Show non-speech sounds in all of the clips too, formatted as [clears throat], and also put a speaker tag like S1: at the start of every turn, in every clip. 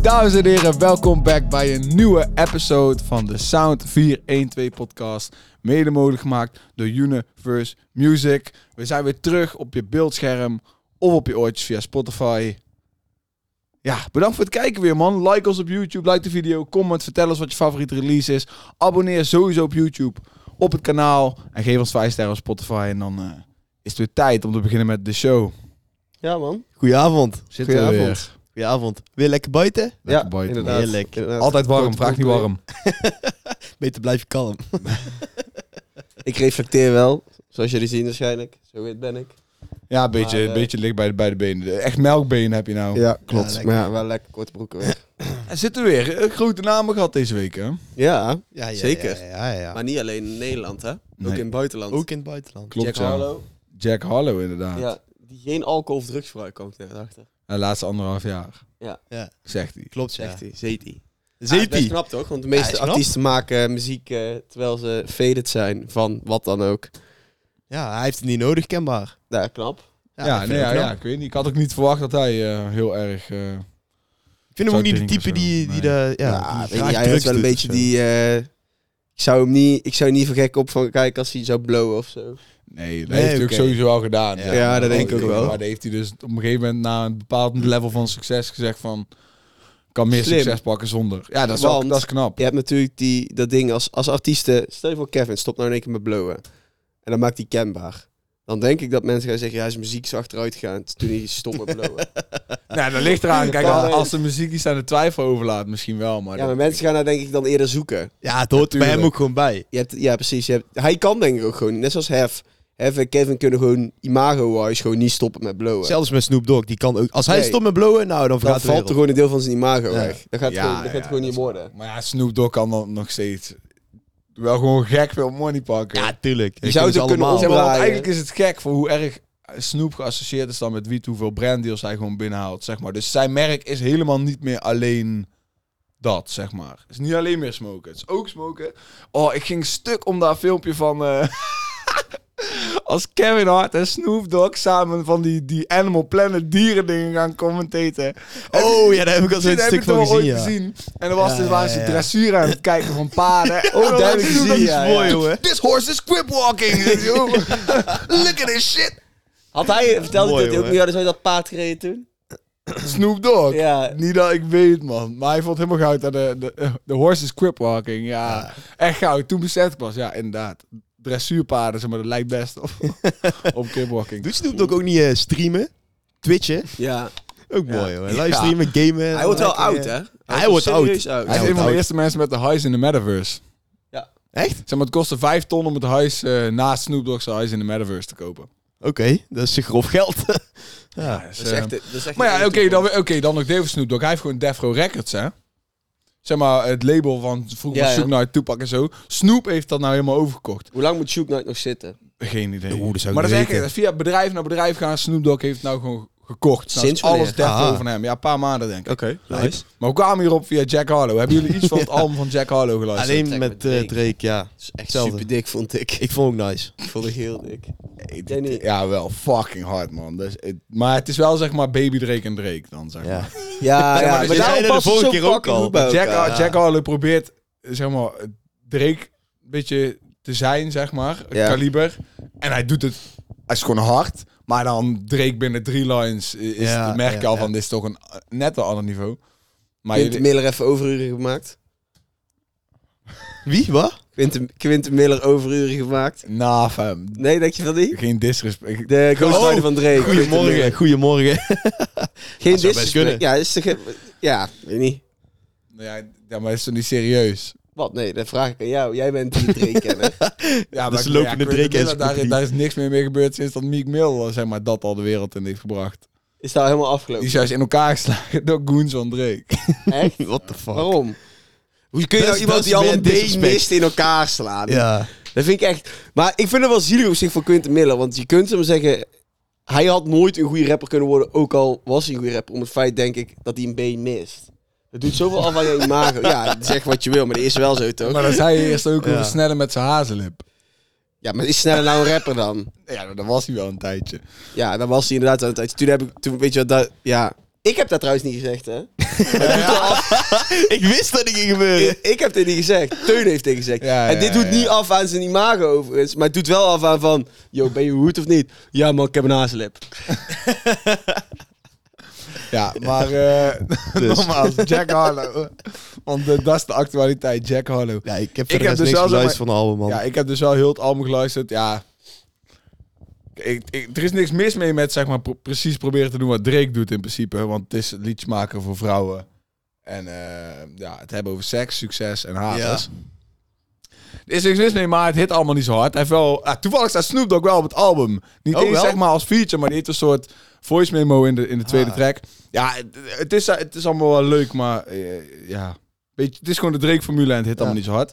S1: Dames en heren, welkom back bij een nieuwe episode van de Sound 412 podcast. Mede mogelijk gemaakt door Universe Music. We zijn weer terug op je beeldscherm of op je oortjes via Spotify. Ja, bedankt voor het kijken weer man. Like ons op YouTube, like de video, comment, vertel ons wat je favoriete release is. Abonneer sowieso op YouTube, op het kanaal en geef ons 5 sterren op Spotify. En dan eh, is het weer tijd om te beginnen met de show.
S2: Ja, man.
S3: Goedenavond.
S1: Zitten we
S2: Goedenavond.
S1: weer.
S3: Goedenavond. Weer lekker buiten?
S1: Lekker
S2: ja,
S1: buiten.
S2: inderdaad.
S3: Heerlijk.
S2: Inderdaad.
S1: Altijd warm,
S2: Kort
S1: vraag niet
S2: controle.
S1: warm.
S3: Beter blijf je kalm.
S2: Ik reflecteer wel, zoals jullie zien waarschijnlijk. Zo wit ben ik.
S1: Ja, een beetje,
S2: Maar,
S1: een
S2: eh,
S1: beetje licht bij de, bij de benen. Echt melkbeen heb je nou.
S2: Ja, klopt.
S3: lekker.
S2: maar ja, wel lekker korte broeken weer.
S1: Er zitten weer eh, grote namen gehad deze week, hè?
S2: ja,
S3: Ja,
S2: Zeker.
S3: Ja, ja, ja.
S2: maar niet alleen in Nederland, hè?
S1: Nee.
S2: Ook in het buitenland.
S3: Ook in het buitenland.
S1: Klopt,
S2: Jack
S1: ja.
S2: Harlow.
S1: Jack Harlow, inderdaad.
S2: Ja, die geen alcohol of drugs gebruikt, komt eh, net achter.
S1: De laatste anderhalf jaar,
S3: Ja,
S1: zegt hij.
S3: klopt, ja.
S2: Zegt hij, zeet hij.
S3: Zeepie.
S2: Dat is knap toch? Want de
S3: Ja,
S2: meeste
S3: is knap.
S2: artiesten maken eh, muziek eh, terwijl ze faded zijn van wat dan ook.
S3: ja, hij heeft het niet nodig, kenbaar.
S2: Ja, knap.
S1: Ja,
S3: ik vind
S1: nee,
S3: het
S1: ja,
S3: knap.
S1: ja, ik weet niet. Ik had ook niet verwacht dat hij eh, heel erg... eh,
S3: Ik vind hem ook niet de
S1: drinken
S3: type
S1: of zo.
S3: die, die,
S1: Nee.
S3: daar ja,
S2: Ja,
S3: die
S2: weet
S3: graag
S2: niet, hij heeft
S3: drugs
S2: wel een
S3: doet of
S2: beetje
S3: zo.
S2: die... eh, ik zou hem niet, ik zou er niet van gek op van kijken als hij zou blowen of zo.
S1: Nee, dat
S3: Nee,
S1: heeft hij ook
S3: oké.
S1: sowieso al gedaan.
S3: Ja,
S2: ja, dat
S1: Maar
S2: denk ik ook wel.
S1: Maar dat heeft hij dus op een gegeven moment na een bepaald level van succes gezegd van... Kan meer
S2: Slim.
S1: succes pakken zonder. Ja, dat is, wel-
S2: Want-
S1: dat is knap.
S2: Je hebt natuurlijk die, dat ding als, als artiesten. Stel je voor, Kevin, stop nou in één keer met blowen. En dan maakt hij kenbaar. Dan denk ik dat mensen gaan zeggen, ja, zijn muziek is achteruit gegaan toen hij stopt met blowen.
S1: Nou, dat ligt eraan. Kijk,
S2: Ja,
S1: al-
S2: nee.
S1: als de muziek iets aan de twijfel overlaat, misschien wel. Maar
S2: ja,
S1: dat-
S2: maar mensen gaan daar denk ik dan eerder zoeken.
S3: Ja, het hoort bij hem
S1: Tuurlijk.
S3: ook gewoon bij.
S2: Je hebt, ja, precies. Je hebt, hij kan denk ik ook gewoon, net zoals Hef. Hef en Kevin kunnen gewoon imago-wise gewoon niet stoppen met blowen.
S3: Zelfs met Snoop Dogg, die kan ook... Als hij
S2: Nee.
S3: stopt met blowen, nou, dan
S2: dan
S3: vergaat de
S2: valt er
S3: wereld.
S2: gewoon een deel van zijn imago
S3: Ja.
S2: weg. Dat gaat,
S1: Ja,
S2: gewoon, dat gaat
S1: ja,
S2: gewoon
S1: dat
S2: niet
S1: is
S2: worden.
S1: Maar ja, Snoop Dogg kan dan nog steeds wel gewoon gek veel money pakken.
S3: Ja, tuurlijk.
S2: Je zou het ook kunnen
S1: Zeg maar, want
S2: omdraaien.
S1: eigenlijk is het gek voor hoe erg Snoop geassocieerd is dan met wiet, hoeveel branddeals hij gewoon binnenhaalt, zeg maar. Dus zijn merk is helemaal niet meer alleen dat, zeg maar. Het is niet alleen meer smoken, het is ook smoken. Oh, ik ging stuk om dat filmpje van... eh, [laughs] als Kevin Hart en Snoop Dogg samen van die, die Animal Planet dieren dingen gaan commentaten.
S3: Oh, ja, daar heb ik
S1: [laughs]
S3: al zo'n
S1: Misschien heb
S3: stuk
S1: je
S3: van
S1: het wel ooit
S3: gezien, ja.
S1: gezien. En dan was
S3: Ja,
S1: dus, waren ze
S3: ja, ja.
S1: dressuur aan het kijken van
S3: [laughs]
S1: paarden.
S2: Oh, dat heb ik gezien,
S1: Dat is
S2: ja,
S1: mooi,
S2: ja.
S1: jongen. This horse is quip walking. [laughs] Look at this shit.
S2: Had hij, vertelde
S3: Mooi,
S2: dat hij ook
S3: hoor.
S2: niet hadden zou dat paard gereden toen?
S1: Snoop Dogg.
S2: Ja.
S1: Niet dat ik weet, man. Maar hij vond helemaal goud aan de, de, de horse is quip walking. Ja, echt goud. Toen besefte ik pas, ja, inderdaad. Dressuurpaarden, zeg maar, dat lijkt best
S3: [laughs]
S1: op, op quipwalking.
S3: Doet Snoop Dogg ook niet eh, streamen? Twitchen?
S2: Ja.
S3: Ook mooi, hoor.
S1: Ja.
S3: Livestreamen, gamen.
S2: Hij wordt wel
S3: lekker,
S2: oud,
S3: eh,
S2: hè?
S3: Hij wordt oud.
S2: serieus
S1: Hij is
S3: Ja,
S1: een van de
S3: oud.
S1: eerste mensen met de huis in de metaverse.
S3: Echt?
S1: Zeg maar, het kostte 5 ton om het huis eh, naast Snoop Dogg's huis in de metaverse te kopen.
S3: Oké, dat is grof geld. [laughs] ja.
S1: Dus,
S2: Dat is
S1: eh,
S2: echt, dat is echt
S1: Maar ja,
S2: een
S1: oké, dan,
S2: toekomst.
S1: weer- oké, dan nog David Snoop Dogg. Hij heeft gewoon Defro Records, hè? Zeg maar, het label van vroeger
S2: Ja,
S1: was
S2: ja.
S1: Shook Knight, Toepak en zo. Snoop heeft dat nou helemaal overgekocht.
S2: Hoe lang moet Shook Knight nog zitten?
S1: Geen idee.
S3: Oeh, dat zou ik
S1: maar dat
S3: niet
S1: is echt
S3: weten.
S1: via bedrijf naar bedrijf gaan. Snoop Dogg heeft het nou gewoon gekocht. Nou,
S2: Sinds
S1: is alles
S2: wanneer?
S1: Defro
S3: Aha.
S1: van hem. Ja, een paar maanden denk ik.
S2: Oké,
S3: nice.
S1: Maar we kwamen hierop via Jack Harlow. Hebben jullie iets van
S3: [laughs]
S1: het album van Jack Harlow geluisterd?
S3: Alleen
S2: Trek
S3: met
S2: met
S3: eh,
S2: Drake.
S3: Drake, ja.
S2: is echt
S3: Hetzelfde.
S2: super dik, vond ik.
S3: Ik vond hem ook nice.
S2: Ik vond het heel dik.
S1: Nee, dit-
S2: Jij niet?
S1: ja, wel fucking hard, man. Dus, het- maar het is wel zeg maar Baby Drake en Drake dan, zeg maar.
S3: Ja.
S2: Ja,
S3: maar ze zeiden de
S2: passen ze
S3: vorige
S2: zo
S3: keer ook
S2: fucking
S3: al.
S2: goed bij
S1: Jack,
S2: elkaar.
S1: Jack Harlow probeert, zeg maar, Drake een beetje te zijn, zeg maar. het
S2: Ja.
S1: Kaliber. En hij doet het, hij is gewoon hard. Maar dan Drake binnen drie lines, i- is,
S3: Ja,
S1: merk je
S3: ja,
S1: al
S3: ja.
S1: van, dit is toch een eh, net een ander niveau. Maar
S2: Quinten
S1: jullie,
S2: Miller even overuren gemaakt.
S3: Wie? Wat?
S2: Quinten, Quinten Miller overuren gemaakt.
S1: na fam,
S2: Nee, denk je van die?
S1: geen disrespect.
S2: De ghostwriter
S3: Oh,
S2: van Drake. Quinten Miller.
S3: Goedemorgen, goedemorgen.
S2: Geen
S3: zou best kunnen.
S2: disrespect. Ja, is toch- ja, weet niet.
S1: Ja, ja, maar is toch niet serieus?
S2: Wat? Nee, dat vraag ik aan jou. Jij bent die [laughs] Drake-kenner.
S1: Ja,
S3: is
S1: Quinten
S3: lopende Drake
S1: Miller, daar,
S3: encyclopedie.
S1: daar is niks meer mee gebeurd sinds dat Meek Mill, zeg maar, dat al de wereld in heeft gebracht.
S2: Is daar helemaal
S1: Die
S2: afgelopen.
S1: is juist in elkaar geslagen [laughs] door Goons van Drake.
S2: Echt?
S3: [laughs] What the fuck?
S2: Waarom? Hoe kun je
S3: Dat
S2: nou
S3: is-
S2: iemand
S3: dat is
S2: die al
S3: meer
S2: een beetje
S3: disrespect.
S2: mist in elkaar slaan?
S3: Ja. [laughs]
S2: Dat vind ik echt. Maar ik vind het wel zielig op zich voor Quinten Miller. Want je kunt hem zeggen. Hij had nooit een goede rapper kunnen worden. Ook al was hij een goede rapper. Om het feit, denk ik, dat hij een been mist. Het doet zoveel af aan je imago. Ja, zeg wat je wil, maar dat is wel zo toch?
S1: Maar dan zei je eerst ook
S3: Ja.
S1: over snellen met zijn hazenlip.
S2: Ja, maar is sneller nou een rapper dan?
S1: Ja, maar dat was hij wel een tijdje.
S2: Ja, dan was hij inderdaad aan het eind. Toen heb ik. Toen weet je wat. Dat, ja, Ik heb dat trouwens niet
S1: [laughs]
S2: gezegd, hè?
S3: ik wist dat dit ging gebeuren.
S2: Ik heb dit niet gezegd. Teun heeft dit gezegd.
S1: Ja,
S2: en dit
S1: ja,
S2: doet
S1: ja.
S2: niet af aan zijn imago overigens. Maar het doet wel af aan van... Yo, ben je goed of niet? Ja man, ik heb een haaslip.
S1: [laughs] Ja, maar eh [laughs]
S3: Dus.
S1: nogmaals, Jack Harlow. Want eh, dat is de actualiteit, Jack Harlow.
S3: Ja, ik heb
S1: heb
S3: verder
S1: dus
S3: rest niks
S1: wel, zeg maar-
S3: geluisterd van de album, man.
S1: Ja, ik heb dus wel heel het album geluisterd. Ja, ik, ik, er is niks mis mee met zeg maar pro- precies proberen te doen wat Drake doet in principe. Want het is liedjes maken voor vrouwen. En eh, ja, het hebben over seks, succes en haters. Er is niks mis mee, maar het hit allemaal niet zo hard. Hij heeft wel, ah, toevallig staat Snoop Dogg wel op het album. Niet
S3: Oh,
S1: eens
S3: wel?
S1: zeg maar als feature, maar die heeft een soort voice memo in de, in de tweede
S3: Ah.
S1: track. Ja, het, het is, het is allemaal wel leuk, maar eh, ja. Weet je, het is gewoon de Drake-formule en het hit allemaal niet zo hard.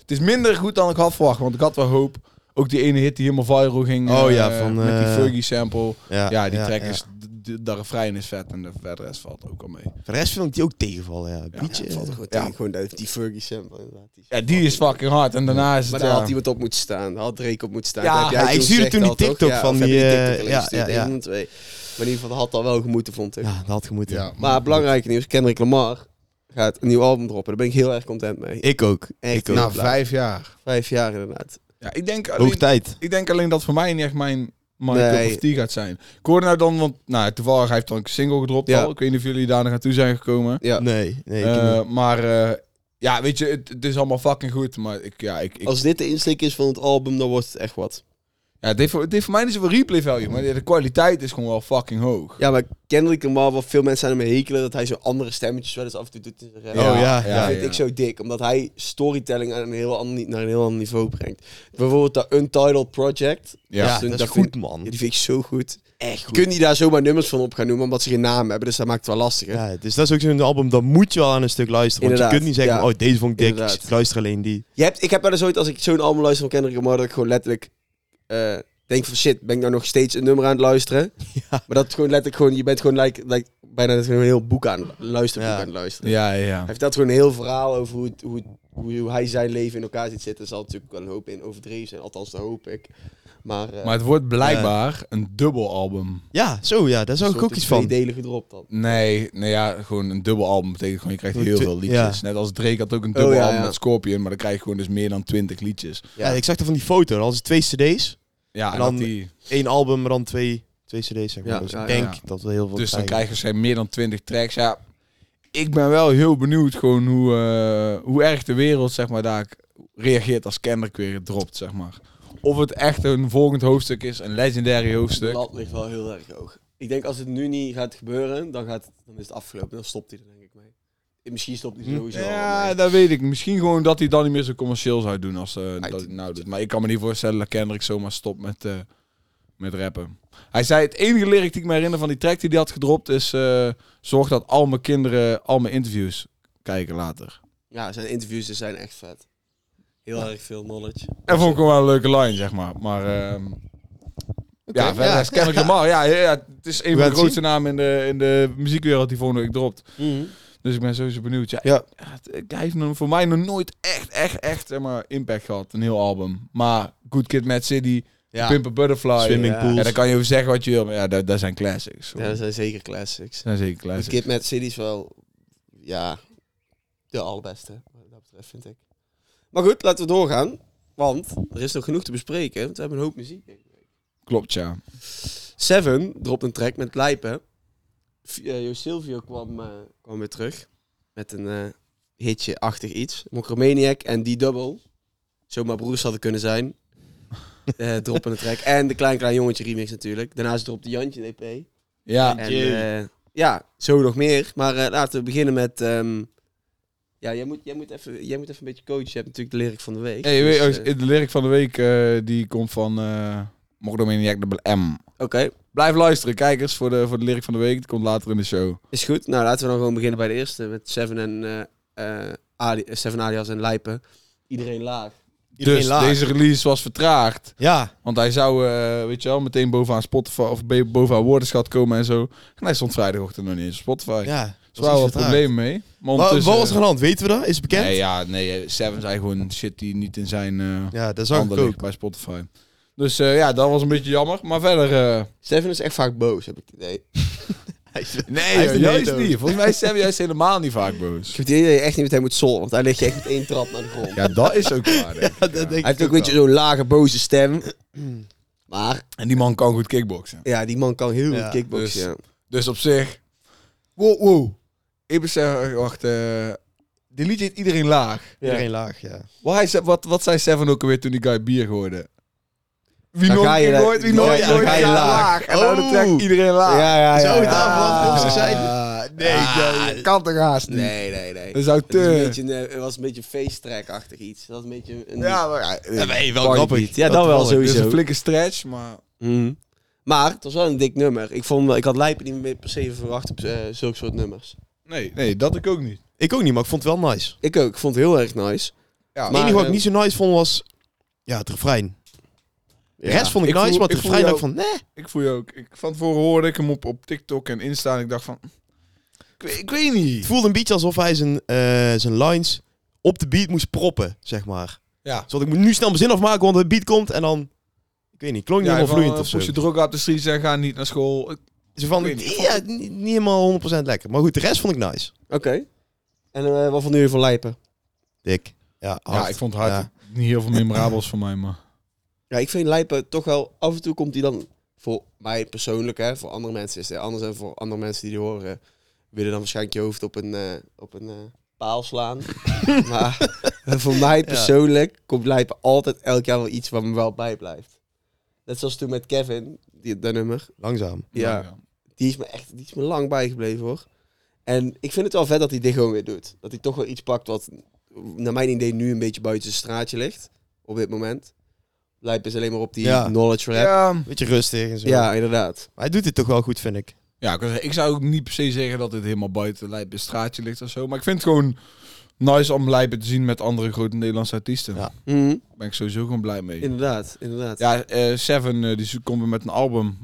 S1: Het is minder goed dan ik had verwacht, want ik had wel hoop. Ook die ene hit die helemaal viral ging.
S3: Oh
S1: eh,
S3: ja, van,
S1: Met die
S3: eh,
S1: Fergie-sample. Ja, die track
S3: ja.
S1: is... d- d- De refrein is vet en de verder rest valt ook al mee.
S3: Voor de rest vind ik die ook tegenvallen, ja. Beetje,
S2: valt er goed
S1: Ja.
S2: tegen. Gewoon die- die Fergie sample inderdaad.
S1: Ja, die is fucking hard. En daarna is
S2: Maar
S1: het...
S2: daar
S1: ja.
S2: had iemand op moeten staan. Daar had Drake op moeten staan.
S1: Ja,
S2: Dat heb jij
S3: ja, ik stuurde
S2: gezegd
S3: toen die
S2: al, toch?
S3: TikTok
S2: Ja,
S3: van
S2: of heb je
S3: die,
S2: TikTok
S3: eh,
S2: alleen
S3: ja,
S2: gestuurd?
S3: ja, ja.
S2: Eén van de twee. Maar in ieder geval dat had al wel gemoeten, vond ik.
S3: ja, dat had gemoeten.
S1: Ja.
S2: Maar belangrijke nieuws. Kendrick Lamar gaat een nieuw album droppen. Daar ben ik heel erg content mee.
S3: Ik ook.
S2: Echt,
S3: ik ook.
S2: nou,
S1: Na vijf jaar.
S2: Vijf jaar inderdaad.
S1: Ja, ik denk
S3: Hoog
S1: alleen,
S3: tijd.
S1: ik denk alleen dat voor mij niet echt mijn... Michael
S2: Nee.
S1: of die gaat zijn. Ik hoorde nou dan, want nou, toevallig hij heeft dan een single gedropt
S2: Ja.
S1: al. Ik weet niet of jullie daar nog aan toe zijn gekomen.
S2: Ja.
S3: Nee, nee. ik
S1: Eh,
S3: niet.
S1: maar eh, ja, weet je, het, het is allemaal fucking goed. Maar ik, ja, ik, ik,
S2: Als dit de insteek is van het album, dan wordt het echt wat.
S1: ja het, heeft, voor- het heeft voor mij niet zoveel replay value. Maar de kwaliteit is gewoon wel fucking hoog.
S2: Ja, maar Kendrick Lamar, wat veel mensen aan hem hekelen, dat hij zo andere stemmetjes wel eens af en toe doet. in zijn rap.
S3: Ja. Oh,
S2: Dat
S3: ja,
S2: vind ik zo dik, omdat hij storytelling aan een heel ander, ni- naar een heel ander niveau brengt. Bijvoorbeeld dat Untitled Project.
S1: Ja.
S3: ja,
S2: dus
S3: dat is
S2: dat
S3: goed,
S2: vind-
S3: man.
S2: Ja, die vind ik zo goed.
S3: Hm. echt
S2: Kun je daar zomaar nummers van op gaan noemen, omdat ze geen naam hebben, dus dat maakt het wel lastiger.
S3: Ja, dus dat is ook zo'n album, dan moet je wel aan een stuk luisteren. Want
S2: Inderdaad,
S3: je kunt niet zeggen,
S2: ja.
S3: oh, deze vond ik dik,
S2: Inderdaad.
S3: ik luister alleen
S2: [laughs]
S3: die.
S2: Je hebt, ik heb wel eens ooit, als ik zo'n album luister van Kendrick Lamar, dat ik gewoon letterlijk eh, denk van shit, ben ik nou nog steeds een nummer aan het luisteren? Maar dat gewoon letterlijk gewoon, je bent gewoon like, like, bijna net gewoon een heel boek aan het lu- luisterboek
S3: Ja.
S2: aan het luisteren.
S1: Ja, ja, ja.
S2: Hij vertelt gewoon een heel verhaal over hoe, het- hoe, het- hoe, hoe hij zijn leven in elkaar ziet zitten. Er zal natuurlijk wel een hoop in overdreven zijn, althans dat hoop ik. Maar, eh,
S1: Maar het wordt blijkbaar een dubbel album.
S3: Ja, zo, ja, daar zou
S2: een
S3: ik
S2: soort
S3: ook iets van.
S2: Twee delen gedropt dan.
S1: Nee, nee ja, gewoon een dubbel album betekent gewoon je krijgt
S3: Gewoon
S1: heel
S3: twi-
S1: veel liedjes.
S3: ja.
S1: Net als Drake had ook een dubbel
S2: Oh, ja,
S1: album
S2: ja.
S1: met Scorpion, maar dan krijg je gewoon dus meer dan twintig liedjes.
S3: Ja, ik zag er van die foto, dat was twee cd's.
S1: Ja, en,
S3: En dan-
S1: dat die,
S3: Eén album, maar dan twee, twee cd's, zeg maar.
S2: Ja,
S3: dus
S2: ja,
S3: ik denk
S1: ja.
S3: dat we heel veel
S1: dus dan
S3: krijgen.
S1: krijgen ze meer dan twintig tracks. Ja, ik ben wel heel benieuwd gewoon hoe, eh, hoe erg de wereld zeg maar, daar reageert als Kendrick weer dropt, zeg maar. Of het echt een volgend hoofdstuk is, een legendary
S2: De
S1: hoofdstuk.
S2: lat ligt wel heel erg hoog. Ik denk als het nu niet gaat gebeuren, dan, gaat, dan is het afgelopen. Dan stopt hij er denk ik mee. Eh, Misschien stopt hij sowieso al
S1: Ja,
S2: mee.
S1: dat weet ik. Misschien gewoon dat hij dan niet meer zo commercieel zou doen als eh, dat hij
S2: Uit-
S1: nou doet. Maar ik kan me niet voorstellen dat Kendrick zomaar stopt met, eh, met rappen. Hij zei, het enige lyric die ik me herinner van die track die hij had gedropt is... eh, zorg dat al mijn kinderen al mijn interviews kijken later.
S2: Ja, zijn interviews dus zijn echt vet. Heel erg veel knowledge.
S1: En vond ik hem wel een leuke line, zeg maar. Maar ehm, ja, verder is Kendrick Lamar. Ja, ja, ja, het is een
S3: gaan
S1: van de
S3: het
S1: grootste namen in de, in de muziekwereld die volgende week dropt.
S2: Mhm.
S1: Dus ik ben sowieso benieuwd. Ja,
S3: Ja.
S1: ik- ja, het- hij heeft nog voor mij nog nooit echt, echt, echt zeg maar, impact gehad. Een heel album. Maar Good Kid, Mad City,
S3: Ja.
S1: Pimp a Butterfly.
S3: Swimming
S2: Ja.
S3: pools.
S1: Ja, daar kan je over zeggen wat je wil. Maar ja, dat, dat zijn classics.
S2: Ja, dat zijn zeker classics.
S1: Dat zijn zeker
S2: Het
S1: classics.
S2: Kid Mad City is wel, ja, de allerbeste. Wat dat betreft vind ik. Maar goed, laten we doorgaan. Want er is nog genoeg te bespreken. Want we hebben een hoop muziek.
S1: Klopt, ja.
S2: Seven dropt een track met Lijpen. V- eh, Jo Silvio kwam, eh, kwam weer terug. Met een eh, hitje-achtig iets. Mokromaniac en D-Double. Zomaar broers hadden kunnen [laughs] zijn. Eh droppen een track. En de Klein Klein Jongetje remix natuurlijk. Daarnaast dropte Jantje een EP.
S1: Ja,
S2: En
S3: Jee.
S2: eh, ja, zo nog meer. Maar eh, laten we beginnen met... ehm, ja, jij moet, jij, moet even, jij moet even een beetje coachen. Je hebt natuurlijk de lyric van de week.
S1: hey, weet,
S2: Dus,
S1: je,
S2: eh,
S1: de lyric van de week eh, die komt van eh Mordomaniac Double M.
S2: Oké,
S1: Blijf luisteren, kijkers, voor de, voor de lyric van de week. Het komt later in de show.
S2: is goed. Nou, laten we dan gewoon beginnen bij de eerste. Met Seven en eh, eh, Ali- eh, Seven Alias en Lijpen. Iedereen laag.
S3: Iedereen
S1: dus
S3: laag.
S1: deze release was vertraagd.
S3: Ja,
S1: Want hij zou, eh, weet je wel, meteen bovenaan Spotify of be- bovenaan woordenschat komen en zo. En hij stond vrijdagochtend nog niet eens op Spotify. Dus Ja,
S3: ja.
S1: er waren wel problemen mee. Maar
S3: Wat,
S1: ondertussen-
S3: was er aan de hand? Weten we dat? Is het bekend?
S1: Nee, ja, nee, eh, Seven zei gewoon shit die niet in zijn eh
S3: Ja, dat zag ik
S1: handen
S3: ook.
S1: ligt bij Spotify.
S3: [laughs]
S1: Dus eh, ja, dat was een beetje jammer. Maar verder, eh,
S2: Seven is echt vaak boos, heb ik het idee.
S1: Nee,
S3: Hij is
S1: joh,
S3: niet
S1: juist
S3: dood.
S1: niet. Volgens mij is Sam juist helemaal niet vaak
S2: Ik
S3: [laughs]
S1: boos.
S2: heb het idee dat je echt niet met hem moet zollen, want hij ligt je echt met één trap naar de grond.
S1: Ja, dat is ook waar. denk ik,
S3: Ja,
S1: ja.
S3: dat denk
S2: hij
S3: ik
S2: heeft ook
S3: ook
S2: een beetje
S3: wel.
S2: zo'n lage, boze stem. Maar,
S1: En die man kan goed kickboksen.
S2: ja, die man kan heel
S3: Ja,
S2: goed kickboxen.
S1: dus-
S2: ja.
S1: Dus op zich. Wow, wow. Ik besef, wacht. eh die liedje heet iedereen laag.
S3: Iedereen laag, ja.
S1: Wat, hij, ze- wat, wat zei Seven ook alweer toen die guy bier gooide? Wie
S2: Dan
S1: nog
S2: ga
S1: een
S2: je
S1: keer
S2: la-
S1: gooit, wie nog
S2: dan ga
S1: een
S2: je-
S1: keer
S2: dan
S1: gooit,
S2: ga je
S1: ja,
S2: laag.
S1: laag. En dan
S3: Oh.
S1: trekt iedereen laag.
S2: Ja, ja, ja.
S3: Zou het
S2: ja.
S3: daarvan
S1: Ah.
S3: opkomstig zijn?
S1: Nee,
S3: Ah,
S1: dat kan toch haast niet?
S2: Nee, nee, nee.
S1: Dat zou
S2: Het, is een
S1: te...
S2: beetje, een, eh, het was een beetje feesttrack-achtig iets. Dat was een beetje een...
S1: Ja, maar... Ja, eh,
S3: Ja, maar hey, wel
S2: Party
S3: grappig.
S2: beat. Ja, dat dus wel
S1: Het is
S2: sowieso.
S1: een flinke stretch, maar...
S2: Mhm. Maar het was wel een dik nummer. Ik, vond, wel- ik had Lijpen niet meer per se verwacht op eh, zulke soort nummers.
S1: Nee, nee, dat ik ook niet.
S3: Ik ook niet, maar ik vond het wel nice.
S2: Ik ook. Ik vond het heel erg nice.
S1: Ja,
S3: Het
S2: Maar,
S3: enige wat ik
S2: eh,
S3: niet zo nice vond was... Ja, het refrein. De
S2: Ja.
S3: rest vond ik,
S1: Ik
S3: nice,
S1: voel-
S3: maar het
S1: ik voel
S3: refrein dacht ik
S1: jou-
S3: van... Nee.
S1: Ik voel je ook. Ik, van tevoren hoorde ik hem op, op TikTok en Insta en ik dacht van... Ik, weet- ik weet
S3: Het
S1: niet.
S3: voelde een beetje alsof hij zijn, eh, zijn lines op de beat moest proppen, zeg maar.
S1: Ja.
S3: Zodat ik moet nu snel mijn zin afmaken, want de beat komt en dan... Ik weet niet, klonk niet helemaal
S1: van,
S3: vloeiend
S1: eh,
S3: of zo.
S1: Push je druk op de streets en ga niet naar school. Ik-
S3: Zo van,
S1: Ik weet niet.
S3: ja, niet, niet helemaal 100% lekker. Maar goed, de rest vond ik nice.
S2: Oké. En eh, wat vonden jullie van Lijpen?
S3: Dik. Ja,
S1: Ja, ik vond het hard. Niet heel veel memorabels van mij, maar...
S2: Ja, ik vind Lijpen toch wel... Af en toe komt hij dan... Voor mij persoonlijk, hè. Voor andere mensen is het anders. En voor andere mensen die die horen... Willen dan waarschijnlijk je hoofd op een, eh, op een eh, paal slaan. [laughs] maar eh, voor mij persoonlijk komt Lijpen altijd elk jaar wel iets waar me wel bij blijft. Net zoals toen met Kevin, die, dat nummer.
S3: Langzaam.
S2: Ja. die is me echt die is me lang bijgebleven hoor. En ik vind het wel vet dat hij dit gewoon weer doet. Dat hij toch wel iets pakt wat naar mijn idee nu een beetje buiten zijn straatje ligt. Op dit moment. Lijp is alleen maar op die
S3: Ja.
S2: knowledge rap. Ja,
S1: Ja,
S3: Beetje rustig en zo.
S2: inderdaad.
S3: Maar hij doet dit toch wel goed, vind ik.
S1: ja ik, wou zeggen, ik zou ook niet per se zeggen dat dit helemaal buiten Lijpen straatje ligt of zo. Maar ik vind het gewoon nice om Lijpen te zien met andere grote Nederlandse artiesten.
S3: Ja.
S1: Daar
S2: Mhm,
S1: ben ik sowieso gewoon blij mee.
S2: Inderdaad, inderdaad. Ja.
S1: Ja, eh, Seven eh, die zo- komt weer met een album.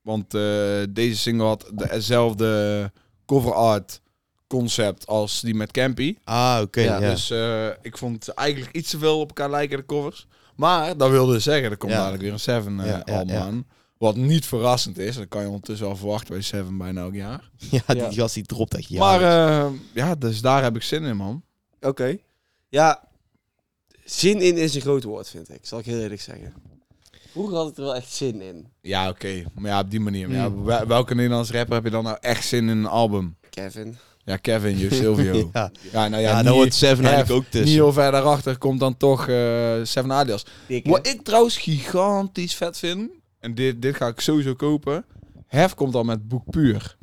S1: Want eh, deze single had dezelfde cover art concept als die met Campy.
S3: Ah, oké.
S2: Ja,
S3: ja,
S1: Dus eh, ik vond ze eigenlijk iets te veel op elkaar lijken, de covers. Maar dat wilde dus zeggen, er komt
S3: Ja.
S1: dadelijk weer een Seven eh,
S3: Ja, ja,
S1: album
S3: ja.
S1: aan. Wat niet verrassend is. Dat kan je ondertussen al verwachten bij Seven bijna elk jaar.
S3: [laughs] Ja, die
S2: Ja.
S3: gast die dropt echt ja.
S1: Maar eh, ja, dus daar heb ik zin in, man.
S2: Oké. Ja, zin in is een groot woord vind ik. Zal ik heel eerlijk zeggen. Vroeger had ik er wel echt zin in.
S1: Ja, oké. Maar ja, op die manier. Maar
S3: Hmm.
S1: Ja, wel- welke Nederlands rapper heb je dan nou echt zin in een album?
S2: Kevin.
S1: Ja, Kevin, Jus Silvio. ja.
S3: [laughs] ja.
S1: nou ja,
S3: eh, Ja,
S1: niet-
S3: daar hoort Seven
S1: F,
S3: eigenlijk ook
S1: Niet
S3: tussen.
S1: heel ver daarachter komt dan toch eh Seven Alias.
S2: Dikke.
S1: Wat ik trouwens gigantisch vet vind, en dit, dit ga ik sowieso kopen. Hef komt dan met boek puur.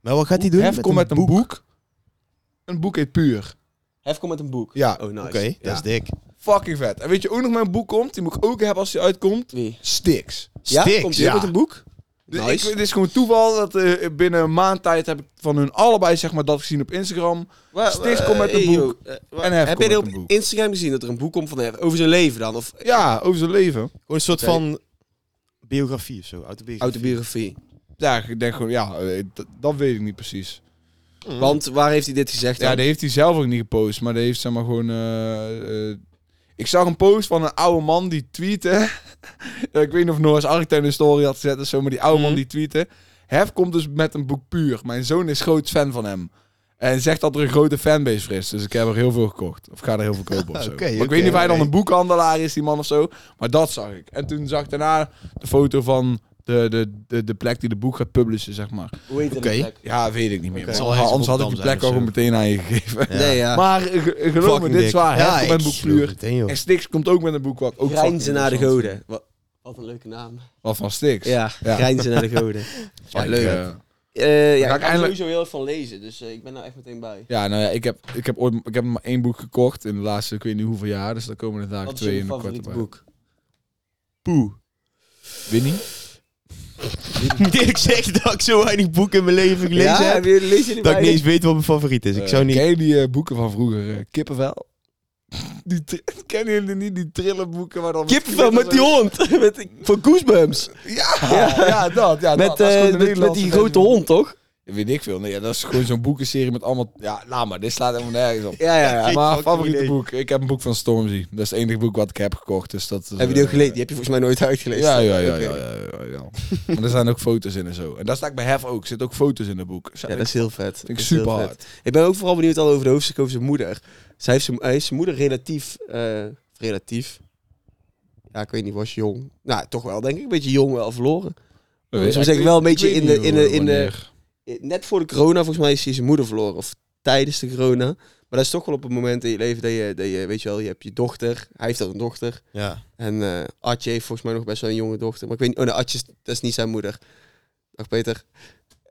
S3: Maar wat gaat hij doen?
S1: Hef komt met een boek. Een boek heet puur.
S2: Hef komt met een boek.
S1: Ja,
S2: Oh, nice.
S3: Oké, dat is dik.
S1: fucking vet. En weet je ook nog mijn boek komt? Die moet ik ook hebben als die uitkomt.
S2: Wie?
S1: Sticks.
S2: Ja?
S3: Sticks,
S2: Komt hij
S3: ja.
S2: met een boek?
S1: Dus
S2: Nice.
S1: ik, het is gewoon toeval dat eh, binnen een maand tijd heb ik van hun allebei zeg maar dat gezien op Instagram.
S2: Wa-
S1: Stix
S2: wa-
S1: komt met een
S2: eh,
S1: boek.
S2: joh, eh, wa-
S1: En Hef
S2: heb
S1: komt
S2: je
S1: met
S2: op
S1: een boek.
S2: Instagram gezien dat er een boek komt van Hef? Over zijn leven dan? Of
S1: Ja, over zijn leven.
S3: Gewoon een soort
S2: Oké.
S3: van biografie of zo, autobiografie.
S2: autobiografie?
S1: Ja, ik denk gewoon, ja, eh, dat- dat weet ik niet precies.
S2: Want waar heeft hij dit gezegd?
S1: Ja,
S2: dan?
S1: die heeft hij zelf ook niet gepost, maar die heeft zeg maar gewoon. eh, eh, ik zag een post van een oude man die tweette. [laughs] Ja, ik weet niet of Noors Architect een story had gezet of zo, maar die oude man
S3: Mhm.
S1: die tweette. Hef komt dus met een boek puur. Mijn zoon is groot fan van hem. En zegt dat er een grote fanbase voor is. Dus ik heb er heel veel gekocht. Of ga er heel veel kopen
S3: [laughs]
S1: of zo.
S3: Oké,
S1: Maar ik
S3: oké,
S1: weet niet of hij dan
S3: oké.
S1: een boekhandelaar is, die man of zo. Maar dat zag ik. En toen zag ik daarna de foto van de, de, de, de plek die de boek gaat publishen, zeg maar.
S2: Hoe heet dat
S3: Oké.
S2: plek?
S1: Ja, weet ik niet meer.
S2: Oké.
S1: Maar
S3: Zal ergens
S1: Anders had
S3: op
S1: ik
S3: Rotterdam
S1: die plek al
S3: zijn
S1: gewoon
S3: of zo.
S1: meteen aan je gegeven.
S3: Ja.
S2: Nee, ja.
S1: Maar eh, ge- eh, geloof me,
S3: Fucking
S1: dit
S3: dik.
S1: is waar.
S3: Ja,
S1: Hef komt met
S3: ik
S1: boek
S3: geloof
S1: puur.
S3: het, hè, joh.
S1: En Stix komt ook met een boek wat ook
S2: Grijnzen
S1: fucking
S2: naar de
S1: interessant
S2: goden. Wat, wat een leuke naam.
S1: is. Wat van Stix.
S2: Ja, Grijnzen naar de
S1: [laughs]
S2: goden.
S1: Fuck,
S2: leuk.
S1: eh,
S2: Eh
S1: ik
S2: ja, ik ga er
S1: eindelijk-
S2: sowieso heel erg van lezen, dus eh, ik ben daar echt meteen bij.
S1: Ja, nou ja, ik heb, ik heb ooit ik heb maar één boek gekocht in de laatste, ik weet niet hoeveel jaar. Dus daar komen er dadelijk
S2: Wat is
S1: twee
S2: je
S1: in een korte
S2: favoriete
S1: boek.
S2: boek?
S3: Poeh.
S1: Winnie?
S3: Dirk zegt dat [laughs] ik zo weinig boeken in mijn leven gelezen
S2: Ja,
S3: heb.
S2: heb je, lees je die
S3: Dat ik
S2: bij?
S3: niet eens weet wat mijn favoriet is. Dus Ik zou
S1: Eh,
S3: niet...
S1: Ken je die eh, boeken van vroeger? eh, Kippenvel? Die tri- ken je die niet? Die trillenboeken waar dan...
S2: Kippenvel met die hond. [laughs] met, die- van Goosebumps.
S1: Ja, ja, dat. Ja,
S2: met,
S1: dat, dat is
S2: eh,
S1: gewoon de
S2: met, met
S1: Nederlandse versie
S2: die grote
S1: van-
S2: hond, toch?
S1: Weet ik veel. Nee, ja, dat is gewoon zo'n boekenserie met allemaal... Ja, laat maar. Dit slaat helemaal nergens op.
S2: Ja, ja, ja.
S3: Geen
S1: maar
S3: fucking
S1: favoriete
S3: idee.
S1: boek. Ik heb een boek van Stormzy. Dat is het enige boek wat ik heb gekocht. Dus dat is,
S2: Heb je die ook
S1: eh,
S2: gelezen? Die heb je volgens mij nooit [laughs] uitgelezen.
S1: Ja, ja, ja.
S2: Oké.
S1: ja, ja, ja, ja. maar er zijn ook foto's in en zo. En daar sta ik bij Hef ook. Er zitten ook foto's in het boek.
S2: Ja, dat is heel vet.
S1: vind ik
S2: Dat is heel
S1: super
S2: vet.
S1: hard.
S2: Ik ben ook vooral benieuwd al over de hoofdstuk over zijn moeder. Zij heeft zijn, hij heeft zijn moeder relatief... eh, relatief? Ja, ik weet niet, was jong. Nou, toch wel, denk ik. Een beetje jong wel verloren.
S1: Dat
S2: Dus we
S1: ik
S2: zeggen wel een
S1: weet-
S2: beetje
S1: ik weet
S2: in de-
S1: niet
S2: in de-
S1: hoe-
S2: in de-
S1: wanneer.
S2: Eh, Net voor de corona, volgens mij, is hij zijn moeder verloren. Of tijdens de corona. Maar dat is toch wel op het moment in je leven dat je... Dat je weet je wel, je hebt je dochter. Hij heeft al een dochter.
S3: Ja.
S2: En eh Atje heeft volgens mij nog best wel een jonge dochter. Maar ik weet niet... Oh, nee, Atje, is- dat is niet zijn moeder. Dag Peter.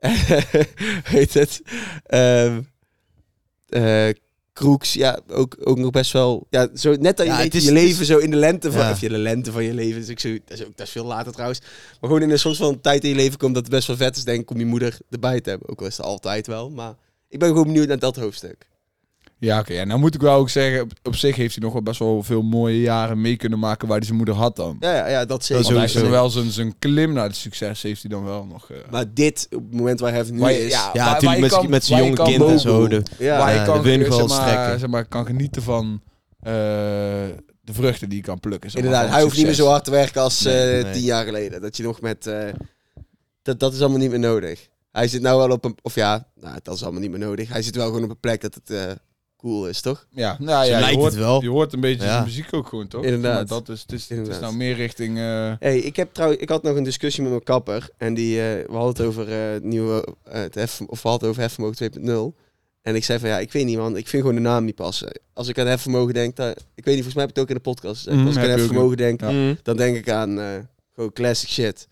S2: [laughs] Heet het. Ehm eh, Kroeks, ja, ook, ook nog best wel... Ja, zo net dat je
S3: Ja,
S2: weet
S3: het
S2: dat
S3: is-
S2: je
S3: het is-
S2: leven zo in de lente van...
S3: Ja.
S2: Of je de lente van je leven. Dus ik zo, dat, is ook, dat is veel later trouwens. Maar gewoon in een soms van een tijd in je leven komt dat het best wel vet is, denk ik, om je moeder erbij te hebben. Ook al is dat altijd wel. Maar ik ben gewoon benieuwd naar dat hoofdstuk.
S1: Ja, oké. En dan moet ik wel ook zeggen, op, op zich heeft hij nog wel best wel veel mooie jaren mee kunnen maken waar hij zijn moeder had dan.
S2: Ja, ja, ja dat zeker.
S1: Want hij
S3: sowieso.
S1: heeft dan wel zijn, zijn klim naar het succes heeft hij dan wel nog. eh.
S2: Maar dit, op het moment waar hij nu
S1: Maar
S2: is...
S1: ja,
S3: Ja,
S1: waar- waar je
S3: natuurlijk met,
S1: kan-
S3: met zijn
S1: waar je
S3: jonge
S1: kan
S3: kind en
S1: mogen.
S3: zo. De,
S2: ja.
S1: waar je
S3: ja,
S1: kan,
S3: de wind
S1: zeg
S3: wel
S1: maar,
S3: strekken.
S1: zeg maar, kan genieten van eh, de vruchten die je kan plukken. zeg maar,
S2: Inderdaad,
S1: van
S2: hij hoeft niet meer
S1: succes.
S2: zo hard te werken als
S3: Nee,
S2: eh,
S3: nee.
S2: tien jaar geleden. Dat je nog met... eh, dat, dat is allemaal niet meer nodig. Hij zit nou wel op een... Of ja, nou, dat is allemaal niet meer nodig. Hij zit wel gewoon op een plek dat het eh, cool is, toch?
S1: Ja, nou
S3: Zo
S1: ja, je
S3: lijkt
S1: hoort,
S3: het wel.
S1: je hoort een beetje
S3: Ja.
S1: zijn muziek ook gewoon, toch?
S2: Inderdaad.
S1: Maar dat is, het, is, het is
S2: Inderdaad.
S1: nou meer richting... eh,
S2: Hey, ik, heb trouw, ik had nog een discussie met mijn kapper. En die, eh, we hadden het over eh, het nieuwe... eh, het hef, of we hadden het over hefvermogen 2.0. En ik zei van ja, ik weet niet man, ik vind gewoon de naam niet passen. Als ik aan hefvermogen denk, dan, ik weet niet, volgens mij heb ik het ook in de podcast gezegd.
S1: Mhm,
S2: Als ik aan
S1: heb je ook
S2: hefvermogen denk,
S1: Ja.
S3: Mm.
S2: dan denk ik aan eh, gewoon classic shit.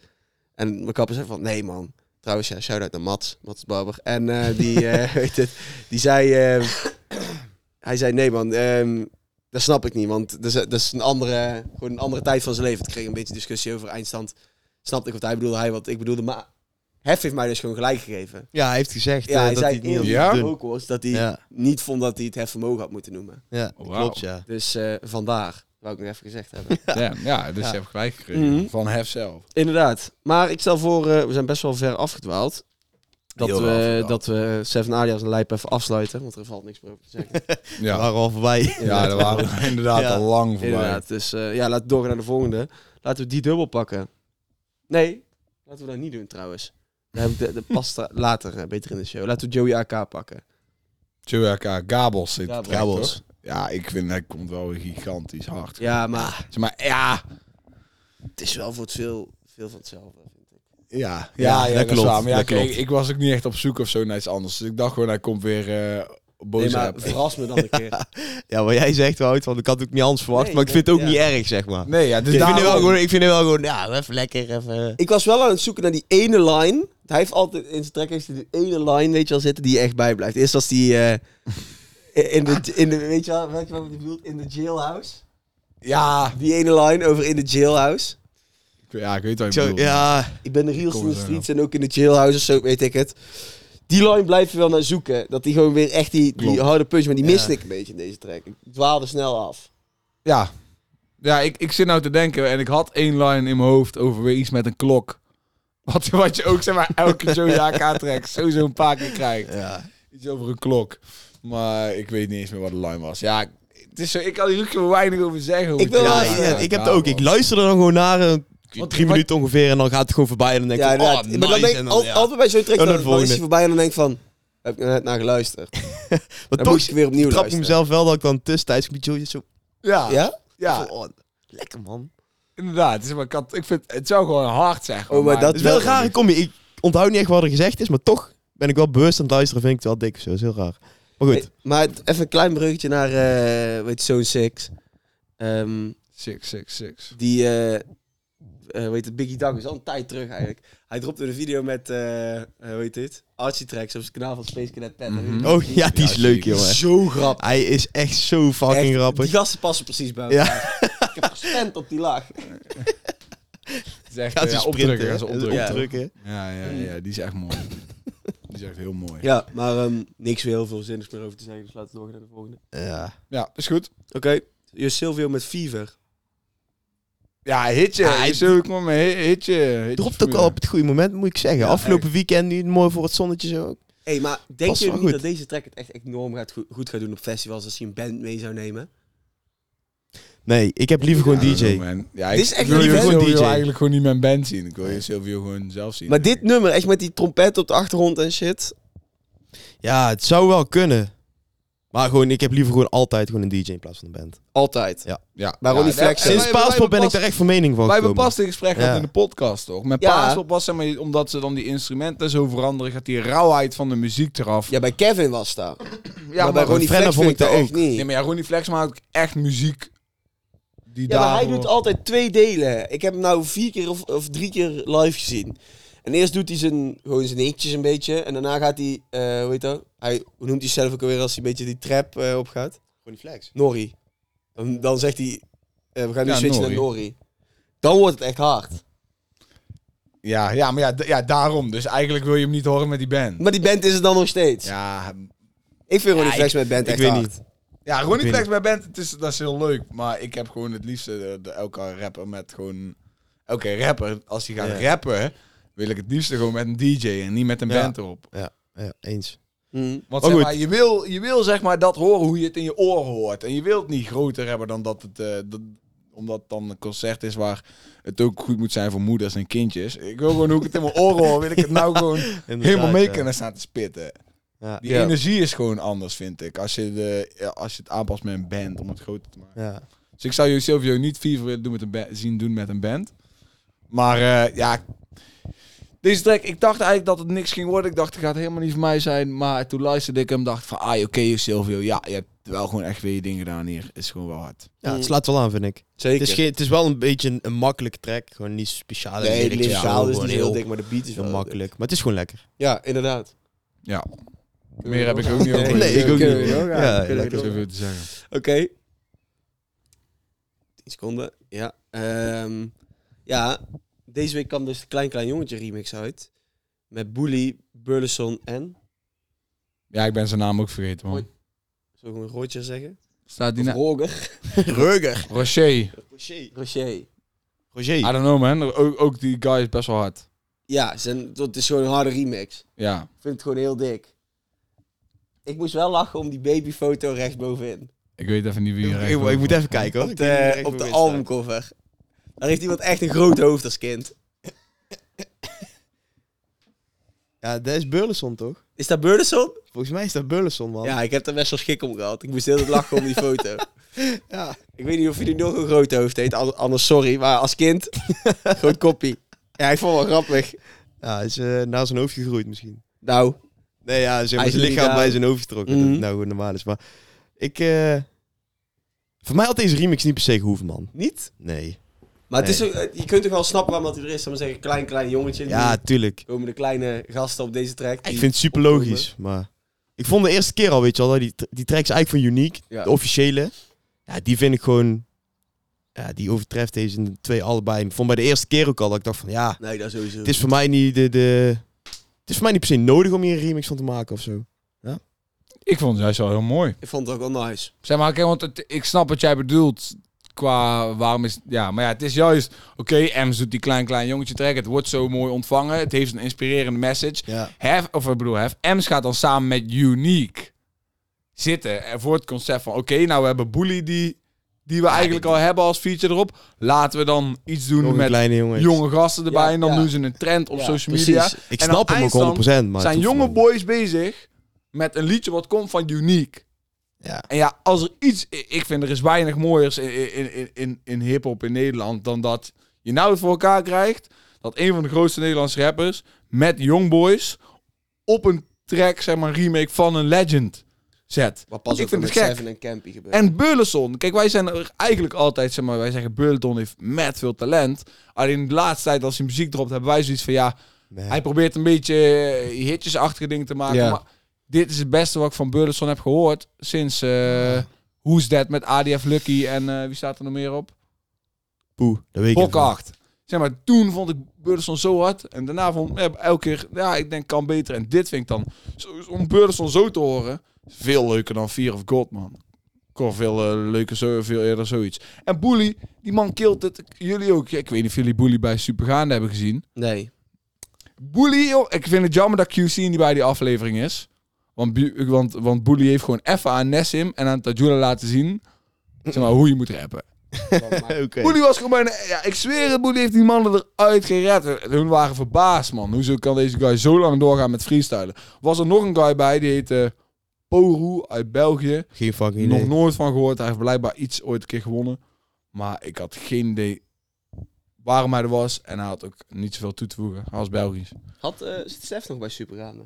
S2: En mijn kapper zei van, nee man. Trouwens, ja, shout-out naar Mats, Mats Barber. En eh, die,
S3: [laughs]
S2: eh, weet het, die zei, eh, hij zei, nee man, ehm, dat snap ik niet. Want dat is, eh, dat is een, andere, gewoon een andere tijd van zijn leven. Ik kreeg een beetje discussie over eindstand. Snapte ik wat hij bedoelde, hij wat ik bedoelde. Maar Hef heeft mij dus gewoon gelijk gegeven.
S3: Ja, hij heeft gezegd
S2: Ja,
S3: eh,
S2: hij
S3: dat hij
S2: zei
S3: het niet
S2: in
S3: had
S1: Ja?
S3: moeten
S2: de
S3: doen.
S2: vocals dat hij
S3: Ja,
S2: niet vond dat hij het hefvermogen had moeten noemen.
S3: ja dat
S1: Wauw.
S3: klopt ja.
S2: Dus eh, vandaar, dat wou ik nog even gezegd hebben.
S1: Ja, ja, dus
S3: Ja.
S1: je hebt gelijk gekregen.
S2: Mhm.
S1: Van Hef zelf.
S2: Inderdaad. Maar ik stel voor, eh, we zijn best wel ver afgedwaald. Dat
S1: Heel
S2: we,
S1: afgedwaald.
S2: dat we Seven Alias en Lijp even afsluiten, want er valt niks meer over te zeggen.
S3: We
S1: Ja,
S3: waren al voorbij.
S1: ja daar waren we inderdaad
S3: Ja.
S1: al lang voorbij.
S2: Inderdaad. Dus eh, ja, laten we doorgaan naar de volgende. Laten we die dubbel pakken. Nee, laten we dat niet doen trouwens. Dan heb ik de, de pasta later eh, beter in de show. Laten we Joey AK pakken.
S1: Chewbacca, Gabels zit
S2: Gabels.
S1: erin,
S3: Gabels.
S1: toch? Ja, ik vind hij komt wel gigantisch hard.
S2: Ja, maar
S1: Zeg maar, ja.
S2: Ah, het is wel voor het veel, veel van hetzelfde. vind ik.
S1: Ja, ja,
S3: Ja, dat
S1: dat, klopt.
S3: klopt,
S1: Maar ja,
S3: dat
S1: kijk,
S3: klopt.
S1: Ik was ook niet echt op zoek of zo naar iets anders. Dus ik dacht gewoon, hij komt weer eh boos
S2: Nee, maar
S1: hebben.
S2: verras me dan een keer.
S3: [laughs] Ja, wat jij zegt Wout, want ik had het ook niet anders verwacht.
S2: Nee,
S3: maar ik vind het ook
S2: nee,
S3: niet erg, zeg maar.
S1: Nee, ja, dus
S3: ik, vind
S1: daarom...
S3: het wel gewoon, ik vind het wel gewoon, ja, even lekker, even...
S2: Ik was wel aan het zoeken naar die ene line. Hij heeft altijd in zijn track heeft hij die ene line, weet je wel, zitten die je echt bijblijft. Eerst was die eh, in, de, in de, weet je wel, welke wat ik bedoel, in de jailhouse.
S1: Ja.
S2: Die ene line over in de jailhouse.
S1: Ik- Ja, ik weet wat
S3: Ik
S1: je
S3: Zo,
S1: bedoelt.
S3: ja,
S2: Ik ben de realste in
S1: Kom
S2: de
S1: er zo
S2: streets en ook in de jailhouse of zo, weet ik het. Die line blijf je wel naar zoeken. Dat die gewoon weer echt die, die
S1: Klopt.
S2: harde punch, maar die
S3: Ja.
S2: miste ik een beetje in deze track. Ik dwaalde snel af.
S1: Ja. Ja, ik, ik zit nou te denken en ik had één line in mijn hoofd over weer iets met een klok. [laughs] Wat, wat je ook, zeg maar,
S3: [laughs]
S1: elke Chewbacca-track sowieso een paar keer krijgt.
S3: ja.
S1: Iets over een klok. Maar ik weet niet eens meer wat de line was. Ja, ik- het is zo, ik kan hier ook zo weinig over zeggen. hoe
S2: Ik wil
S1: het
S3: Ja,
S1: is.
S3: ja, ik heb het
S1: ja,
S3: ook. Ik
S1: man.
S3: luister er dan gewoon naar, eh,
S1: Wat-
S3: drie
S1: wat-
S3: minuten ongeveer, en dan gaat het gewoon voorbij. En dan denk
S2: ja,
S3: ik, oh,
S2: inderdaad.
S3: nice.
S2: maar dan ben ik
S3: en
S2: al-
S3: ja.
S2: altijd bij zo'n track,
S3: En
S2: dan,
S3: dan
S2: dan is
S3: volgende.
S2: hij voorbij en dan denk ik van, heb ik er net naar geluisterd.
S3: Maar
S2: Dan
S3: toch
S2: moet ik weer opnieuw
S3: trap ik
S2: luisteren.
S3: mezelf wel dat ik dan tussentijds een beetje zo...
S1: Ja, ja.
S2: Ja?
S3: van, oh, lekker, man.
S1: inderdaad. Zeg maar, ik, had- ik vind, het zou gewoon hard zijn. gewoon,
S2: Oh, maar dat
S3: Het
S1: het
S3: is wel
S2: Wel,
S3: raar, ik, kom, ik onthoud niet echt wat er gezegd is, maar toch ben ik wel bewust aan het luisteren. Vind ik het wel dik of zo, is heel raar. Maar goed,
S2: Hey, maar het- even een klein bruggetje naar, eh weet je, Zone 6. Ehm,
S1: 666.
S2: die, eh eh, weet het, Biggie Dag is al een tijd terug eigenlijk. Hij dropte een video met, eh hoe heet dit? Archie Tracks op zijn kanaal van Space Cadet Pen.
S1: Mhm.
S3: oh ja, die is
S1: Ja,
S3: leuk,
S1: zeker.
S3: jongen.
S2: Zo grappig.
S3: Hij is echt zo fucking
S2: Echt,
S3: grappig.
S2: Die gasten passen precies bij
S3: Ja.
S2: elkaar. Ik heb gestemd op die
S3: [laughs]
S2: lach.
S1: Het is echt
S3: Gaat
S1: eh,
S3: hij
S1: ja,
S3: sprinten,
S1: opdrukken. Gaan ze
S3: hè?
S1: opdrukken.
S2: Ja.
S3: Opdrukken.
S1: Ja, ja, ja, die is echt mooi.
S2: [laughs]
S1: die is echt heel mooi. Ja,
S2: Ja, maar ehm, niks weer heel veel zinnigs meer over te zeggen. Dus laten we doorgaan naar de volgende.
S3: Ja.
S1: is goed.
S2: Oké. Jo Silvio met Fever.
S1: Ja, hitje.
S3: Ja,
S1: je zult ook maar mee. Hitje. hitje
S3: Dropt ook
S1: vermoeden.
S3: al op het goede moment, moet ik zeggen.
S1: Ja,
S3: Afgelopen weekend nu mooi voor het zonnetje zo.
S2: hey, maar denk
S3: Pas
S2: je
S3: wel
S2: niet
S3: goed.
S2: dat deze track het echt enorm gaat goed, goed gaat doen op festivals als hij een band mee zou nemen?
S3: Nee, ik heb liever gewoon
S1: I don't
S3: DJ.
S1: know, man. Ja,
S2: Dit is echt
S1: ik wil
S2: niet
S1: je
S2: band.
S1: Silvio
S3: DJ.
S1: eigenlijk gewoon niet mijn band zien. Ik wil je Silvio gewoon zelf zien.
S2: Maar dit nummer, echt met die trompet op de achtergrond en shit.
S3: Ja, het zou wel kunnen. Maar gewoon, ik heb liever gewoon altijd gewoon een DJ in plaats van een band.
S2: Altijd.
S1: ja.
S2: Maar Ronnie
S1: Ja,
S2: Flex-
S1: en wij-
S3: Sinds
S1: wij
S3: Paaspop ben ik
S1: bepast-
S3: daar echt van mening van
S1: Wij
S3: gekomen.
S1: hebben pas dit gesprek gehad
S3: Ja.
S1: in de podcast, toch? Met
S2: Ja.
S1: Paaspop was zeg maar, omdat ze dan die instrumenten zo veranderen, gaat die rauwheid van de muziek eraf.
S2: Ja, bij Kevin was dat. maar, bij
S3: Ronnie
S2: Ronnie
S3: Frenna
S2: Flex
S3: vond
S2: vond
S3: ik
S2: ik dat
S3: dat
S2: echt niet.
S1: Nee, maar ja, Ronnie Flex maakt ook echt muziek die
S2: Ja, maar hij
S1: daarvoor-
S2: doet altijd twee delen. Ik heb hem nou vier keer of, of drie keer live gezien. En eerst doet hij zijn, gewoon zijn hitjes een beetje. En daarna gaat hij, eh hoe heet dat? Hij hoe noemt hij zelf ook alweer als hij een beetje die trap eh, opgaat.
S3: Ronnie Flex.
S2: Norrie. Dan, dan zegt hij, eh, we gaan nu
S1: Ja,
S2: switchen naar Norrie. Dan wordt het echt hard.
S1: Ja, ja, maar ja, d- ja, daarom. Dus eigenlijk wil je hem niet horen met die band.
S2: Maar die band is het dan nog steeds.
S1: Ja,
S2: Ik vind Ronnie
S1: Ja,
S2: Flex met band
S3: Ik
S2: echt
S3: weet
S2: hard.
S3: niet.
S1: ja
S3: Ik
S1: Ronnie
S3: weet
S1: Flex bij band, het is, dat is heel leuk. Maar ik heb gewoon het liefste de, de- elke rapper met gewoon... Oké, rapper. Als hij gaat
S3: Ja.
S1: rappen, wil ik het liefste gewoon met een DJ en niet met een
S3: Ja.
S1: band erop.
S3: Ja, eens.
S2: Hm.
S1: Want
S3: Maar
S1: zeg
S3: goed.
S1: maar, je, wil, je wil zeg maar dat horen hoe je het in je oren hoort. En je wilt niet groter hebben dan dat het... eh, dat- omdat het dan een concert is waar het ook goed moet zijn voor moeders en kindjes. Ik wil gewoon hoe ik het in mijn oren hoor. Wil ik het
S3: [laughs]
S1: nou gewoon helemaal mee kunnen staan te spitten.
S3: Ja.
S1: Die
S2: Ja.
S1: energie is gewoon anders, vind ik. Als je, de, ja, als je het aanpast met een band om het groter te maken.
S3: Ja.
S1: Dus ik zou je Silvio niet Fever willen doen met een ba- zien doen met een band. Maar eh, ja, deze track, ik dacht eigenlijk dat het niks ging worden. Ik dacht, het gaat helemaal niet voor mij zijn. Maar toen luisterde ik hem, dacht van, ah, oké, Silvio. Ja, je hebt wel gewoon echt weer je ding gedaan hier. Is gewoon wel hard.
S3: ja, het slaat wel aan, vind ik.
S2: Zeker.
S3: Het is, geen, het is wel een beetje een, een makkelijke track. Gewoon niet speciaal.
S2: nee, het
S3: lyrics of zo,
S2: lyricaal is
S3: gewoon
S2: niet heel dik, maar de beat is
S3: heel
S2: wel
S3: makkelijk. Maar het is gewoon lekker.
S2: Ja, inderdaad.
S1: Ja. Meer heb ik ook niet
S2: [laughs]
S1: over.
S3: Nee, ik ook
S2: kunnen we
S3: niet.
S2: doorgaan.
S3: Ja,
S2: Kunnen we
S3: lekker.
S2: doorgaan.
S1: Zoveel te zeggen.
S2: Oké. 10 seconden. Ja. Ehm, ja, deze week kwam dus de Klein Klein Jongetje remix uit. Met Bully, Burleson en...
S1: Ja, ik ben zijn naam ook vergeten, man.
S2: Hoi. Zullen we gewoon Roger zeggen?
S1: Staat die
S2: Of
S1: naam?
S2: [laughs] Roger.
S3: Reuger.
S1: Rocher.
S3: Roger.
S2: Roger.
S1: I
S2: Ah,
S3: Roger.
S1: don't know, man. Ook, ook die guy is best wel hard.
S2: Ja, zijn, dat is gewoon een harde remix.
S1: Ja.
S2: Ik vind het gewoon heel dik. Ik moest wel lachen om die babyfoto rechtsbovenin.
S1: Ik weet even niet wie
S3: Ik,
S1: hier
S3: ik,
S1: rechtboven
S3: moet
S1: staat.
S3: even kijken hoor.
S2: Op
S3: Ik weet niet
S2: de,
S3: direct
S2: op
S3: hoe
S2: de
S3: het staat.
S2: albumcover. Daar heeft iemand echt een groot hoofd als kind.
S3: Ja, dat is Burleson toch?
S2: Is dat Burleson?
S3: Volgens mij is dat Burleson man.
S2: Ja, ik heb er best wel schik om gehad. Ik moest heel tijd lachen om die foto.
S3: Ja.
S2: [laughs] Ik weet niet of jullie nog een groot hoofd heet, an- anders sorry, maar als [laughs] kind, groot koppie. Ja, ik vond het wel grappig.
S3: Ja, hij is eh na zijn hoofd gegroeid misschien.
S2: Nou,
S3: Nee, ja, zeg maar,
S2: Hij
S3: zijn
S2: is
S3: lichaam
S2: niet
S3: bij
S2: daar.
S3: zijn hoofd getrokken. Dat
S2: Mhm.
S3: het nou gewoon normaal is. Maar ik... eh, voor mij had deze remix niet per se gehoeven, man.
S2: niet.
S3: Nee.
S2: Maar het is,
S3: Nee.
S2: ook- eh, je kunt toch wel snappen waarom dat hij er is. Dan zeggen, klein, klein jongetje.
S3: Ja,
S2: Ja.
S3: tuurlijk.
S2: Komen de kleine gasten op deze track.
S3: Ik vind het super logisch, maar... Ik vond de eerste keer al, weet je wel, dat die, die tracks eigenlijk van Unique,
S2: Ja.
S3: de officiële. Ja, die vind ik gewoon... Ja, die overtreft deze twee allebei. Ik vond bij de eerste keer ook al dat ik dacht van, ja...
S2: Nee, dat sowieso.
S3: Het is voor mij niet de... de het is voor mij niet per se nodig om hier een remix van te maken of zo.
S1: Ik vond het juist wel heel mooi.
S2: Ik vond het ook wel nice.
S1: Zeg maar, kijk, want het- ik snap wat jij bedoelt. Qua waarom is. Ja, maar ja, het is juist. Oké, Ems doet die klein, klein jongetje trekken. Het wordt zo mooi ontvangen. Het heeft een inspirerende message.
S3: Ja.
S1: Hef, of ik bedoel, Hef, Ems gaat dan samen met Unique zitten. En voor het concept van: oké, nou we hebben Bully die, die we eigenlijk al hebben als feature erop. Laten we dan iets doen
S3: Nog een
S1: met
S3: kleine jongens.
S1: jonge gasten erbij.
S2: Ja,
S1: en dan
S2: ja.
S1: doen ze een trend op
S2: Ja,
S1: social
S2: precies.
S1: media.
S3: Ik
S1: En
S3: snap
S1: aan
S3: hem ook 100%,
S1: eindstand
S3: maar... het
S1: zijn
S3: hoeft
S1: jonge
S3: gewoon-
S1: boys bezig met een liedje wat komt van Unique.
S3: Ja.
S1: En ja, als er iets... i- Ik vind er is weinig mooiers in, in, in, in, in hiphop in Nederland dan dat je nou het voor elkaar krijgt dat een van de grootste Nederlandse rappers met Youngboys op een track, zeg maar, remake van een legend zet.
S2: Maar pas
S1: Ik
S2: op
S1: vind
S2: met
S1: het gek.
S2: Seven en Campy gebeurt.
S1: En Burleson. Kijk, wij zijn er eigenlijk altijd, zeg maar, wij zeggen Burleson heeft met veel talent. Alleen de laatste tijd als hij muziek dropt, hebben wij zoiets van ja,
S3: Nee.
S1: hij probeert een beetje eh, hitjesachtige dingen te maken.
S2: Ja.
S1: Maar dit is het beste wat ik van Burleson heb gehoord sinds eh Who's That met ADF Lucky en eh, wie staat er nog meer op?
S3: Poeh, dat weet ik
S1: Bok
S3: even niet.
S1: 8. Zeg maar, toen vond ik Burleson zo hard. En daarna vond ik ja, elke keer, ja, ik denk kan beter. En dit vind ik dan, zo, om Burleson zo te horen, veel leuker dan Fear of God, man. Gewoon veel eh, leuker, zo, veel eerder zoiets. En Boelie, die man kilt het. Jullie ook. Ik weet niet of jullie Boelie bij Supergaande hebben gezien.
S2: [laughs] Nee.
S1: Boelie, joh. Ik vind het jammer dat QC niet bij die aflevering is. Want, Bu- want, want Boelie heeft gewoon even aan Nessim en aan Tajula laten zien... Zeg maar, hoe je moet rappen.
S3: Oké.
S1: Boelie was gewoon bijna... Ja, ik zweer het, Boelie heeft die mannen eruit gered. Hun waren verbaasd, man. Hoezo kan deze guy zo lang doorgaan met freestylen? Was er nog een guy bij, die heette Poru uit België.
S3: Geen fucking
S1: Nog
S3: idee.
S1: nooit van gehoord. Hij heeft blijkbaar iets ooit een keer gewonnen. Maar ik had geen idee waarom hij er was. En hij had ook niet zoveel toe te voegen. Hij was Belgisch.
S2: Had eh, zit Stef nog bij Supergame?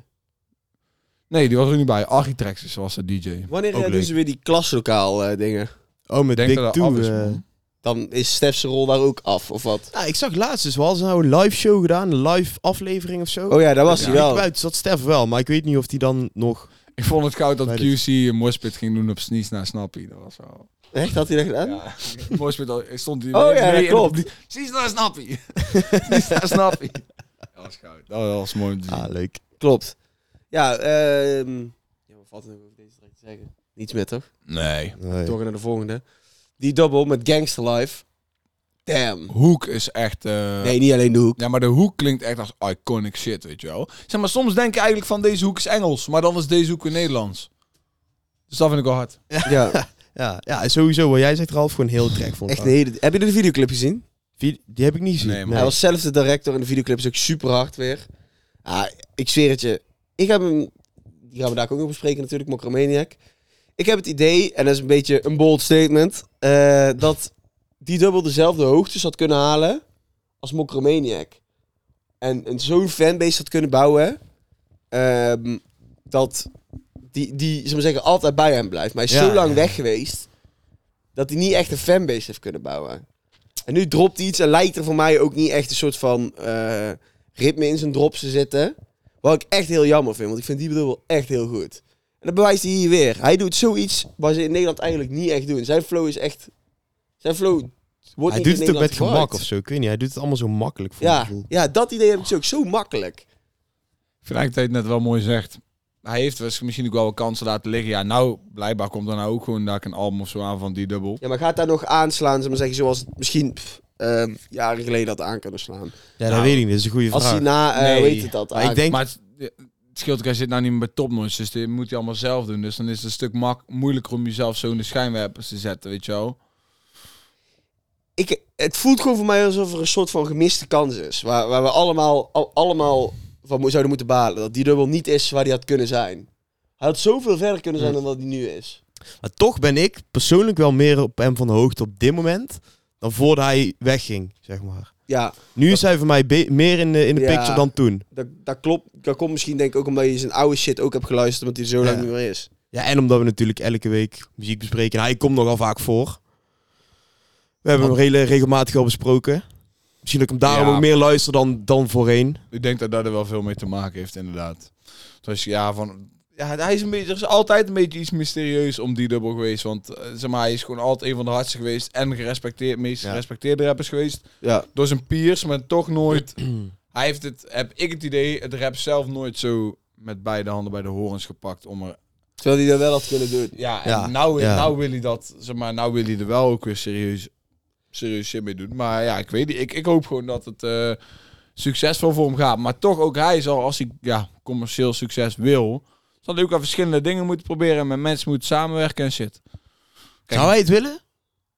S1: Nee, die was er niet bij. Architraxis was de DJ.
S2: Wanneer
S3: Ook
S2: eh, doen
S3: leuk.
S2: ze weer die klaslokaal eh, dingen?
S3: Oh, met
S1: Ik denk
S3: Big
S1: dat dat
S3: Two.
S1: af is,
S3: eh.
S1: man.
S2: Dan is Stef's rol daar ook af, of wat?
S3: Nou, ik zag laatst dus, we hadden nou een live show gedaan, een live aflevering of zo.
S2: Oh ja, daar was
S1: Ja.
S2: hij
S3: Ik
S2: wel.
S3: buiten zat Stef wel, maar ik weet niet of die dan nog...
S1: Ik vond het goud dat
S3: Weet
S1: QC een morspit ging doen op Sneeze naar Snappy. Dat was wel...
S2: Echt, had hij dat gedaan?
S1: Ja, morspit al- stond die...
S2: Oh ja,
S1: nee,
S2: dat
S1: in-
S2: klopt.
S1: Sneeze naar Snappy. Sneeze naar Snappy. Dat was goud. Dat was mooi om te zien.
S3: Ah, leuk.
S2: Klopt. Ja, ehm... Ja, wat valt er nog over deze track te zeggen? Niets meer, toch?
S1: Nee.
S3: Nee.
S2: Door naar de volgende. Die double met Gangster Life. Damn.
S1: Hoek is echt... eh,
S2: Nee, niet alleen de hoek.
S1: Ja, maar de hoek klinkt echt als iconic shit, weet je wel. Zeg maar, soms denk je eigenlijk van deze hoek is Engels, maar dan is deze hoek weer Nederlands. Dus dat vind ik wel hard.
S2: Ja,
S3: Ja, ja, sowieso. Wat jij zegt, Ralf, gewoon heel track vond ik.
S2: echt een hele... Heb je de videoclip gezien?
S3: Die, die heb ik niet gezien.
S1: Nee, man.
S2: Hij was zelf de director en de videoclip is ook super hard weer. Ah, ik zweer het je. Ik heb hem... Die gaan we daar ook nog bespreken natuurlijk, Mokromaniac. Ik heb het idee, en dat is een beetje een bold statement... eh, dat die dubbel dezelfde hoogtes had kunnen halen als Mokromaniac. En, en zo'n fanbase had kunnen bouwen... ehm, dat die, die zullen we zeggen, altijd bij hem blijft. Maar hij is
S3: Ja,
S2: zo lang
S3: ja.
S2: weg geweest... dat hij niet echt een fanbase heeft kunnen bouwen. En nu dropt hij iets en lijkt er voor mij ook niet echt een soort van eh, ritme in zijn drops te zitten. Wat ik echt heel jammer vind, want ik vind die bedoel echt heel goed. En dat bewijst hij hier weer. Hij doet zoiets waar ze in Nederland eigenlijk niet echt doen. Zijn flow is echt... Zijn flow wordt niet
S3: hij doet
S2: in
S3: het ook
S2: Nederland
S3: met gemak
S2: gebruikt.
S3: of zo. Ik weet niet, hij doet het allemaal zo makkelijk voor mijn
S2: Ja,
S3: gevoel.
S2: ja, dat idee heb ik dus ook zo makkelijk.
S1: Ik vind eigenlijk dat hij het net wel mooi zegt. Hij heeft dus misschien ook wel wat kansen laten liggen. Ja, nou, blijkbaar komt er nou ook gewoon daar een album of zo aan van die dubbel.
S2: Ja, maar gaat daar nog aanslaan, zeg maar zeggen, zoals het misschien pff, ehm, jaren geleden had aan kunnen slaan.
S3: Ja, dat
S1: Nou,
S3: weet ik niet. Dat is een goede
S2: Als hij
S3: vraag.
S2: na, eh
S1: Nee,
S2: weet het dat,
S3: Maar ik
S2: aan-
S3: denk,
S1: Maar het, het scheelt ook, hij zit nou niet meer bij topnotch, dus dit moet hij allemaal zelf doen. Dus dan is het een stuk mak moeilijker om jezelf zo in de schijnwerpers te zetten, weet je wel.
S2: ik, het voelt gewoon voor mij alsof er een soort van gemiste kans is. Waar, waar we allemaal, al- allemaal van mo- zouden moeten balen. Dat die dubbel niet is waar die had kunnen zijn. Hij had zoveel verder kunnen zijn dan wat hij nu is.
S3: maar toch ben ik persoonlijk wel meer op hem van de hoogte op dit moment dan voordat hij wegging, zeg maar.
S2: Ja,
S3: Nu is hij voor mij be- meer in de, in de
S2: Ja.
S3: picture dan toen.
S2: dat, dat klopt. Dat komt misschien denk ik ook omdat je zijn oude shit ook hebt geluisterd. Omdat hij er zo lang
S3: Ja.
S2: niet meer is.
S3: Ja, en omdat we natuurlijk elke week muziek bespreken. Hij komt nogal vaak voor. We hebben hem hele regelmatig al besproken. Misschien dat ik hem daarom
S1: Ja.
S3: ook meer luister dan, dan voorheen.
S1: Ik denk dat dat er wel veel mee te maken heeft, inderdaad. Dus ja, van, ja hij is een beetje, er is altijd een beetje iets mysterieus om die dubbel geweest. Want eh, zeg maar, hij is gewoon altijd een van de hardste geweest en gerespecteerd, meest
S3: Ja.
S1: gerespecteerde rappers geweest.
S2: Ja.
S1: Door zijn peers, maar toch
S3: [clears throat]
S1: nooit. hij heeft het, heb ik het idee, het rap zelf nooit zo met beide handen bij de horens gepakt om er.
S2: Terwijl hij dat wel had kunnen doen.
S1: Ja, en
S3: Ja,
S1: Nou,
S3: ja.
S1: nou wil hij dat, zeg maar, nou wil hij er wel ook weer serieus, serieus shit mee doen. Maar ja, ik weet niet. Ik, ik hoop gewoon dat het eh, succesvol voor hem gaat. Maar toch ook hij zal, als hij ja, commercieel succes wil, zal hij ook aan verschillende dingen moeten proberen en met mensen moet samenwerken en shit. Kijk.
S3: Zou hij het willen?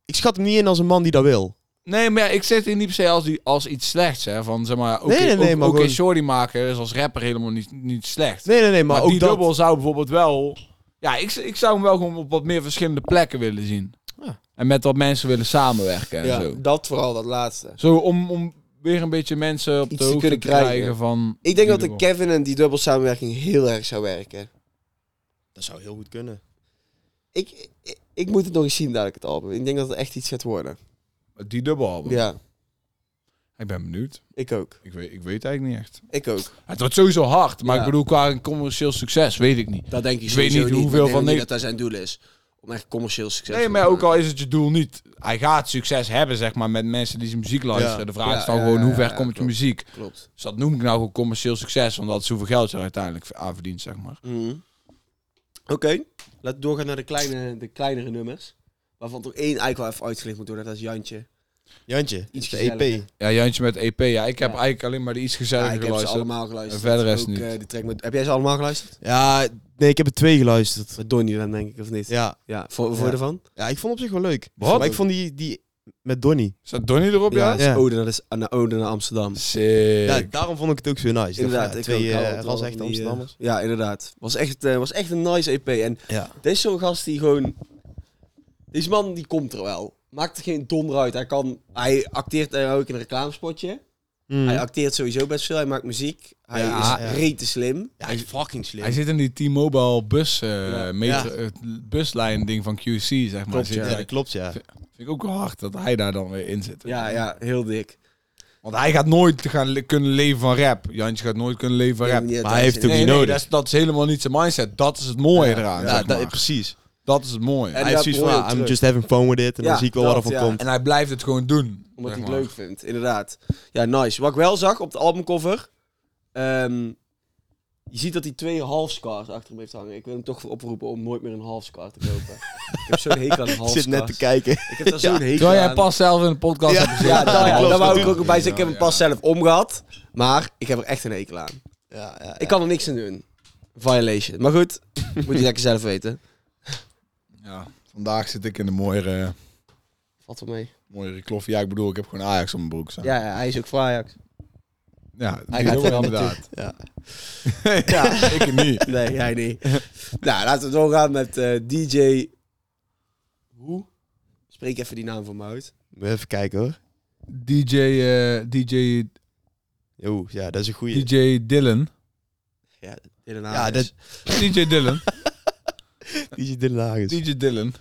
S3: Ik schat hem niet in als een man die dat wil.
S1: Nee, maar ja, ik zit hier niet per se als, die, als iets slechts. Hè? Van zeg maar, oké,
S3: Nee, nee, nee,
S1: ook-
S3: maar
S1: oké,
S3: gewoon-
S1: shorty maken is als rapper helemaal niet, niet slecht.
S3: Nee, nee, nee, maar,
S1: Maar,
S3: ook
S1: die
S3: dat...
S1: dubbel zou bijvoorbeeld wel... Ja, ik, ik zou hem wel gewoon op wat meer verschillende plekken willen zien.
S3: Ja.
S1: En met wat mensen willen samenwerken en
S2: Ja,
S1: zo.
S2: dat vooral, dat laatste.
S1: Zo om, om weer een beetje mensen op
S2: Iets
S1: de
S2: te
S1: hoogte
S2: kunnen
S1: te krijgen,
S2: krijgen.
S1: van...
S2: Ik denk dat de
S1: dubbel.
S2: Kevin en die dubbel samenwerking heel erg zou werken.
S3: Dat zou heel goed kunnen.
S2: Ik, ik, ik moet het nog eens zien dadelijk het album. Ik denk dat het echt iets gaat worden.
S1: Die dubbelalbum.
S2: Ja,
S1: Ik ben benieuwd.
S2: ik ook.
S1: Ik weet, ik weet eigenlijk niet echt.
S2: Ik ook.
S1: Het wordt sowieso hard, maar
S2: Ja.
S1: ik bedoel qua commercieel succes weet ik niet.
S2: Dat denk ik,
S1: Ik
S2: sowieso
S1: weet niet hoeveel
S2: maar ik denk
S1: van
S2: niet
S1: Nederland-
S2: dat dat zijn doel is. Om echt commercieel succes
S1: Nee,
S2: te
S1: maar
S2: worden.
S1: ook al is het je doel niet. Hij gaat succes hebben, zeg maar, met mensen die zijn muziek luisteren. De vraag
S2: Ja,
S1: is dan
S2: ja,
S1: gewoon,
S2: ja,
S1: hoe ver
S2: ja,
S1: komt je
S2: klopt.
S1: muziek?
S2: Klopt.
S1: Dus
S2: Mhm.
S1: dat noem ik nou gewoon commercieel succes, omdat zoveel geld je er uiteindelijk aan verdient, zeg maar.
S2: Oké. Laten we doorgaan naar de, kleine, de kleinere nummers. Waarvan toch één eigenlijk wel even uitgelicht moet worden. Dat is Jantje.
S3: Jantje,
S2: Iets
S3: iets de E EP.
S2: gezelliger.
S1: Ja, Jantje met EP. Ja, ik heb
S2: Ja.
S1: eigenlijk alleen maar de iets
S2: Ja,
S1: gezelliger
S2: ik heb ze
S1: geluisterd.
S2: allemaal geluisterd.
S1: En verder is
S2: Ook,
S1: niet.
S2: eh, die track met, heb jij ze allemaal geluisterd?
S3: Ja, nee, ik heb er twee geluisterd.
S2: Met Donnie dan denk ik, of niet? Ja,
S3: Ja,
S2: voor, voor
S3: Ja.
S2: ervan?
S3: ja ik vond op zich wel leuk.
S1: Wat?
S3: Maar ik vond die, die met Donnie.
S1: Staat Donnie erop, ja?
S2: dat is
S3: Ja.
S2: Ode, dat is eh, naar Ode naar Amsterdam.
S1: Sick.
S3: Ja, daarom vond ik het ook zo nice.
S2: Inderdaad,
S3: Ja,
S2: ik
S3: twee
S2: ook,
S3: eh,
S2: hou altijd wel
S3: ras
S2: van
S3: echte
S2: die, eh,
S3: Amsterdammers.
S2: ja, inderdaad. Was echt, eh, was echt een nice EP. En
S3: Ja.
S2: dit is zo'n gast die gewoon... Deze man, die komt er wel. Maakt er geen donder uit. Hij, kan, hij acteert er ook in een reclamespotje.
S3: Mm.
S2: Hij acteert sowieso best veel. Hij maakt muziek. Hij
S3: Mhm. Ja,
S2: is
S3: ja.
S2: rete slim.
S3: Ja, hij is fucking slim.
S1: Hij zit in die T-Mobile bus, eh,
S2: Ja.
S1: metro- het buslijn ding van QC, zeg maar.
S2: Klopt,
S1: Zit
S2: ja.
S1: hij-
S3: Ja, dat klopt, ja.
S1: Vind ik ook wel hard dat hij daar dan weer in zit.
S2: Ja, ja, heel dik.
S1: Want hij gaat nooit gaan le- kunnen leven van rap. Jantje gaat nooit kunnen leven van rap.
S2: Ik weet niet,
S3: Maar hij heeft
S2: is-
S3: ook niet nodig.
S1: dat, is, dat is helemaal niet zijn mindset. Dat is het mooie eraan,
S3: Ja,
S1: zeg
S3: dat-
S1: maar.
S3: precies.
S1: Dat is het mooie.
S2: En
S1: En,
S3: hij
S2: dat
S3: heeft zoiets
S2: hoor
S3: van,
S2: je
S3: ah,
S2: ook
S3: I'm
S2: terug.
S3: just having fun with it. En
S2: Ja,
S3: dan zie ik wel wat er
S2: dat,
S3: van
S2: ja.
S3: komt.
S1: hij blijft het gewoon doen. zeg
S2: Omdat hij het
S1: maar.
S2: leuk vindt, inderdaad. Ja, nice. Wat ik wel zag op de albumcover... ehm, je ziet dat hij twee halfscars achter hem heeft hangen. Ik wil hem toch oproepen om nooit meer een halfscar te kopen. ik heb zo'n hekel aan
S3: Ik
S2: halfscars.
S3: zit net te [laughs] kijken.
S2: Ik heb daar zo'n hekel
S1: Terwijl jij
S2: aan.
S1: pas zelf in de podcast
S3: Ja.
S1: hebt gezeten.
S2: Ja, dat,
S3: klopt,
S2: daar wou ik
S3: natuurlijk.
S2: ook bij zeggen. Ik heb hem
S1: Ja,
S2: pas
S1: ja.
S2: zelf omgehad. Maar ik heb er echt een hekel aan.
S3: Ja, ja,
S2: Ik kan er niks aan doen. Violation. Maar goed, moet je lekker zelf weten.
S1: Ja, vandaag zit ik in een mooiere,
S2: Valt wel mee.
S1: mooiere klof. Ja, ik bedoel, ik heb gewoon Ajax op mijn broek staan.
S2: Ja, ja, hij is ook voor Ajax.
S1: Ja,
S2: Hij
S1: die
S2: gaat
S1: ook
S2: er wel
S1: inderdaad.
S3: ja.
S1: [laughs] ja, ik niet.
S2: Nee, jij niet. [laughs] nou, laten we doorgaan met eh, DJ... Hoe? Spreek even die naam voor me uit.
S3: Even kijken hoor.
S1: DJ, eh, DJ,
S3: Yo, ja, dat is een goeie.
S1: DJ Dylan.
S2: Ja, in
S3: Ja, dat
S1: DJ Dylan.
S3: DJ De Lages.
S1: DJ Dylan.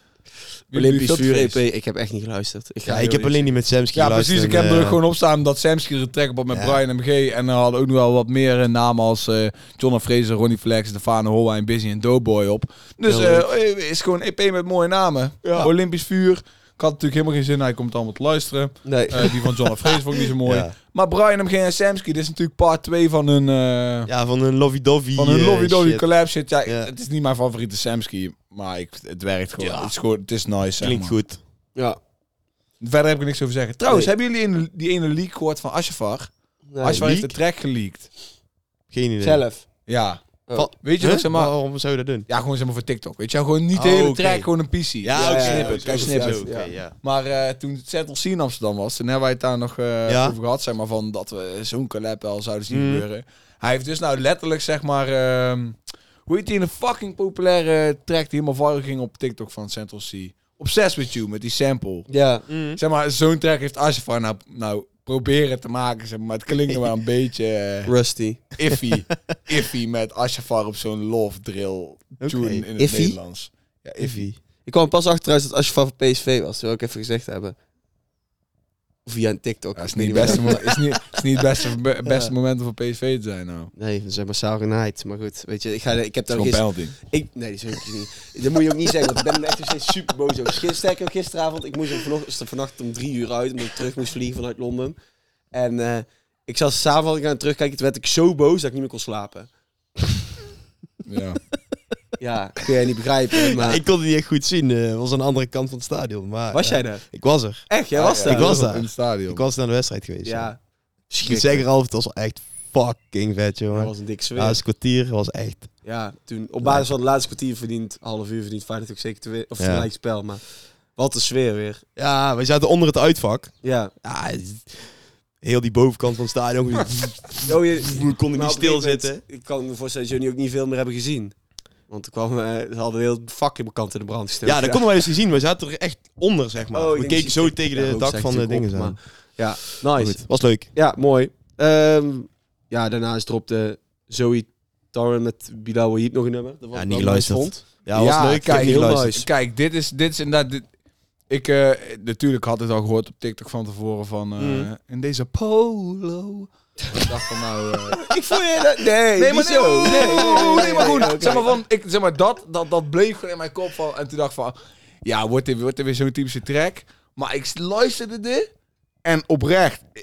S1: Wie
S2: Olympisch
S1: doet dat
S2: vuur EP.
S1: feest?
S2: Ik heb echt niet geluisterd. Ik, ga
S3: Ja,
S2: heel
S3: ik heb alleen
S2: eerlijk
S3: die met Samsky
S1: Ja, precies. Ik heb
S3: geluisterd en,
S1: er ook
S3: eh,
S1: gewoon op staan dat Samsky er trek op had met
S3: Ja.
S1: Brian MG. En er hadden ook nog wel wat meer eh, namen als eh John Fraser, Ronnie Flex, Stefano Hoa en Busy en Doughboy op. Dus
S3: Heel leuk.
S1: eh, eh, is gewoon EP met mooie namen. Olympisch vuur. Ik had natuurlijk helemaal geen zin, hij komt allemaal te luisteren.
S2: zeggen. Nee.
S3: [laughs]
S1: Eh, die van John Fraser vond ik niet zo mooi.
S3: Ja.
S1: Maar Brian MG en Samsky, dit is natuurlijk part 2 van hun, eh
S3: Ja, van een Lovey Dovey.
S1: van hun
S3: eh,
S1: Lovey Dovey
S3: shit.
S1: collab shit. Ja, ik-
S3: Ja.
S1: Het is niet mijn favoriete Samsky, maar ik, het werkt gewoon.
S3: Ja.
S1: Het, is gewoon het is nice, zeg
S3: Klinkt
S1: maar.
S3: goed.
S2: ja.
S1: Verder heb ik niks over te zeggen. Trouwens,
S2: Nee.
S1: hebben jullie een- die ene leak gehoord van Ashafar?
S2: Nee.
S1: Ashafar heeft de
S3: leak?
S1: track geleakt.
S3: Geen idee.
S2: Zelf.
S1: Ja.
S2: Oh.
S3: Wat?
S1: Weet je
S3: Huh?
S1: wat ze maar...
S3: Waarom zou je dat doen?
S1: Ja, gewoon zeg maar voor TikTok. Weet je wel, gewoon niet de
S3: Oh,
S1: hele
S3: oké.
S1: track, gewoon een PC.
S2: Ja,
S3: ook
S2: ja,
S3: snippet.
S1: ja,
S3: Zo,
S1: snippet,
S3: oké,
S2: ja.
S3: ja.
S1: Maar eh, toen Zettel C in Amsterdam was, toen hebben wij het daar nog eh,
S3: Ja.
S1: over gehad, zeg maar, van dat we zo'n collab wel zouden zien
S3: Mm.
S1: gebeuren. Hij heeft dus nou letterlijk, zeg maar, ehm, hoe heet die een fucking populaire track die helemaal viral ging op TikTok van Central C? Obsessed with You, met die sample.
S2: Ja.
S3: Mm.
S1: Zeg maar, zo'n track heeft Ashafar nou, nou proberen te maken, zeg maar, maar het klinkt nog wel een [laughs] beetje... eh,
S2: Rusty.
S1: iffy, iffy met Ashafar op zo'n love drill tune in het
S2: Iffy?
S1: Nederlands. Ja, iffy.
S3: Iffy.
S2: Ik kwam pas achter trouwens dat Ashfar van PSV was. Dat wil ik even gezegd hebben. Via een TikTok.
S1: Ja,
S2: Dat
S1: is niet het beste, mo- is niet, is niet het beste, be- beste moment om voor PSV te zijn nou.
S2: Nee, we zijn maar saurinaid. Maar goed, weet je, ik, ga, ik heb
S1: Het
S2: daar
S1: is
S2: gisteren...
S1: gewoon penalty.
S2: Ik, nee, dat is ook niet. Dat moet je ook niet zeggen, want ik ben er echt nog steeds super boos over. Gisteren, sterker, gisteravond, ik moest er vanochtend, vannacht om drie uur uit, omdat ik terug moest vliegen vanuit Londen. En eh, ik zat s'avonds aan het terugkijken, toen werd ik zo boos dat ik niet meer kon slapen.
S1: Ja.
S2: Ja, kun jij niet begrijpen, maar...
S3: Ik kon het niet echt goed zien. eh, was aan de andere kant van het stadion. Maar,
S2: was
S3: ja,
S2: jij daar?
S3: Ik was er.
S2: Echt, jij was
S1: Ja,
S2: daar?
S3: Ik was daar.
S1: In het stadion.
S3: Ik was naar de wedstrijd geweest.
S2: Ja,
S3: Ik moet zeggen, half, het was wel echt fucking vet,
S2: dat
S3: jongen.
S2: was een dik
S3: Ja,
S2: zweer.
S3: het kwartier was echt...
S2: Ja, toen, op basis van het laatste kwartier verdiend, half uur verdiend, Feyenoord ook zeker te win- of
S3: Ja.
S2: gelijk spel, maar... Wat een sfeer weer.
S3: Ja, we zaten onder het uitvak.
S2: Ja.
S3: Ja, heel die bovenkant van het [laughs] stadion.
S2: Oh, je,
S3: [laughs] We konden
S2: Maar
S3: niet
S2: op een gegeven
S3: stilzitten.
S2: moment, Ik kan me voorstellen dat jullie ook niet veel meer hebben gezien. Want er kwam, eh, ze hadden heel het vak in mijn kant in de brand gestoken.
S3: Ja, dat konden wij dus niet zien. We zaten er echt onder, zeg maar.
S2: Oh, ik
S3: we
S2: denk
S3: keken
S2: dat
S3: zo
S2: je-
S3: tegen
S2: Ja,
S3: de
S2: rook
S3: dak
S2: staat
S3: van de
S2: natuurlijk
S3: dingen
S2: op,
S3: aan.
S2: Ja, nice.
S3: Goed, was leuk.
S2: Ja, mooi. Ehm, ja, daarnaast dropte Zoe Tarn met Bilal Wahid nog een nummer. Dat was
S3: Ja,
S2: ik
S3: niet
S2: wel nice
S3: geluisterd.
S2: vond.
S3: Ja, was leuk. Ik heb
S1: Ah, Kijk,
S3: niet
S2: heel
S3: geluisterd.
S2: nice.
S1: kijk, dit is, dit is inderdaad... dit- ik eh, natuurlijk had het al gehoord op TikTok van tevoren van... eh,
S3: Mm.
S1: In deze polo... ik dacht van nou... eh,
S2: Ik vond je dat... Nee,
S1: Nee,
S2: niet
S1: maar
S2: zo.
S1: nee, nee, nee, nee, maar
S2: oké.
S1: goed. Zeg maar, van, ik, zeg maar dat, dat, dat bleef gewoon in mijn kop van. En toen dacht ik van, ja, wordt dit, wordt dit weer zo'n typische track? Maar ik luisterde dit en oprecht, eh,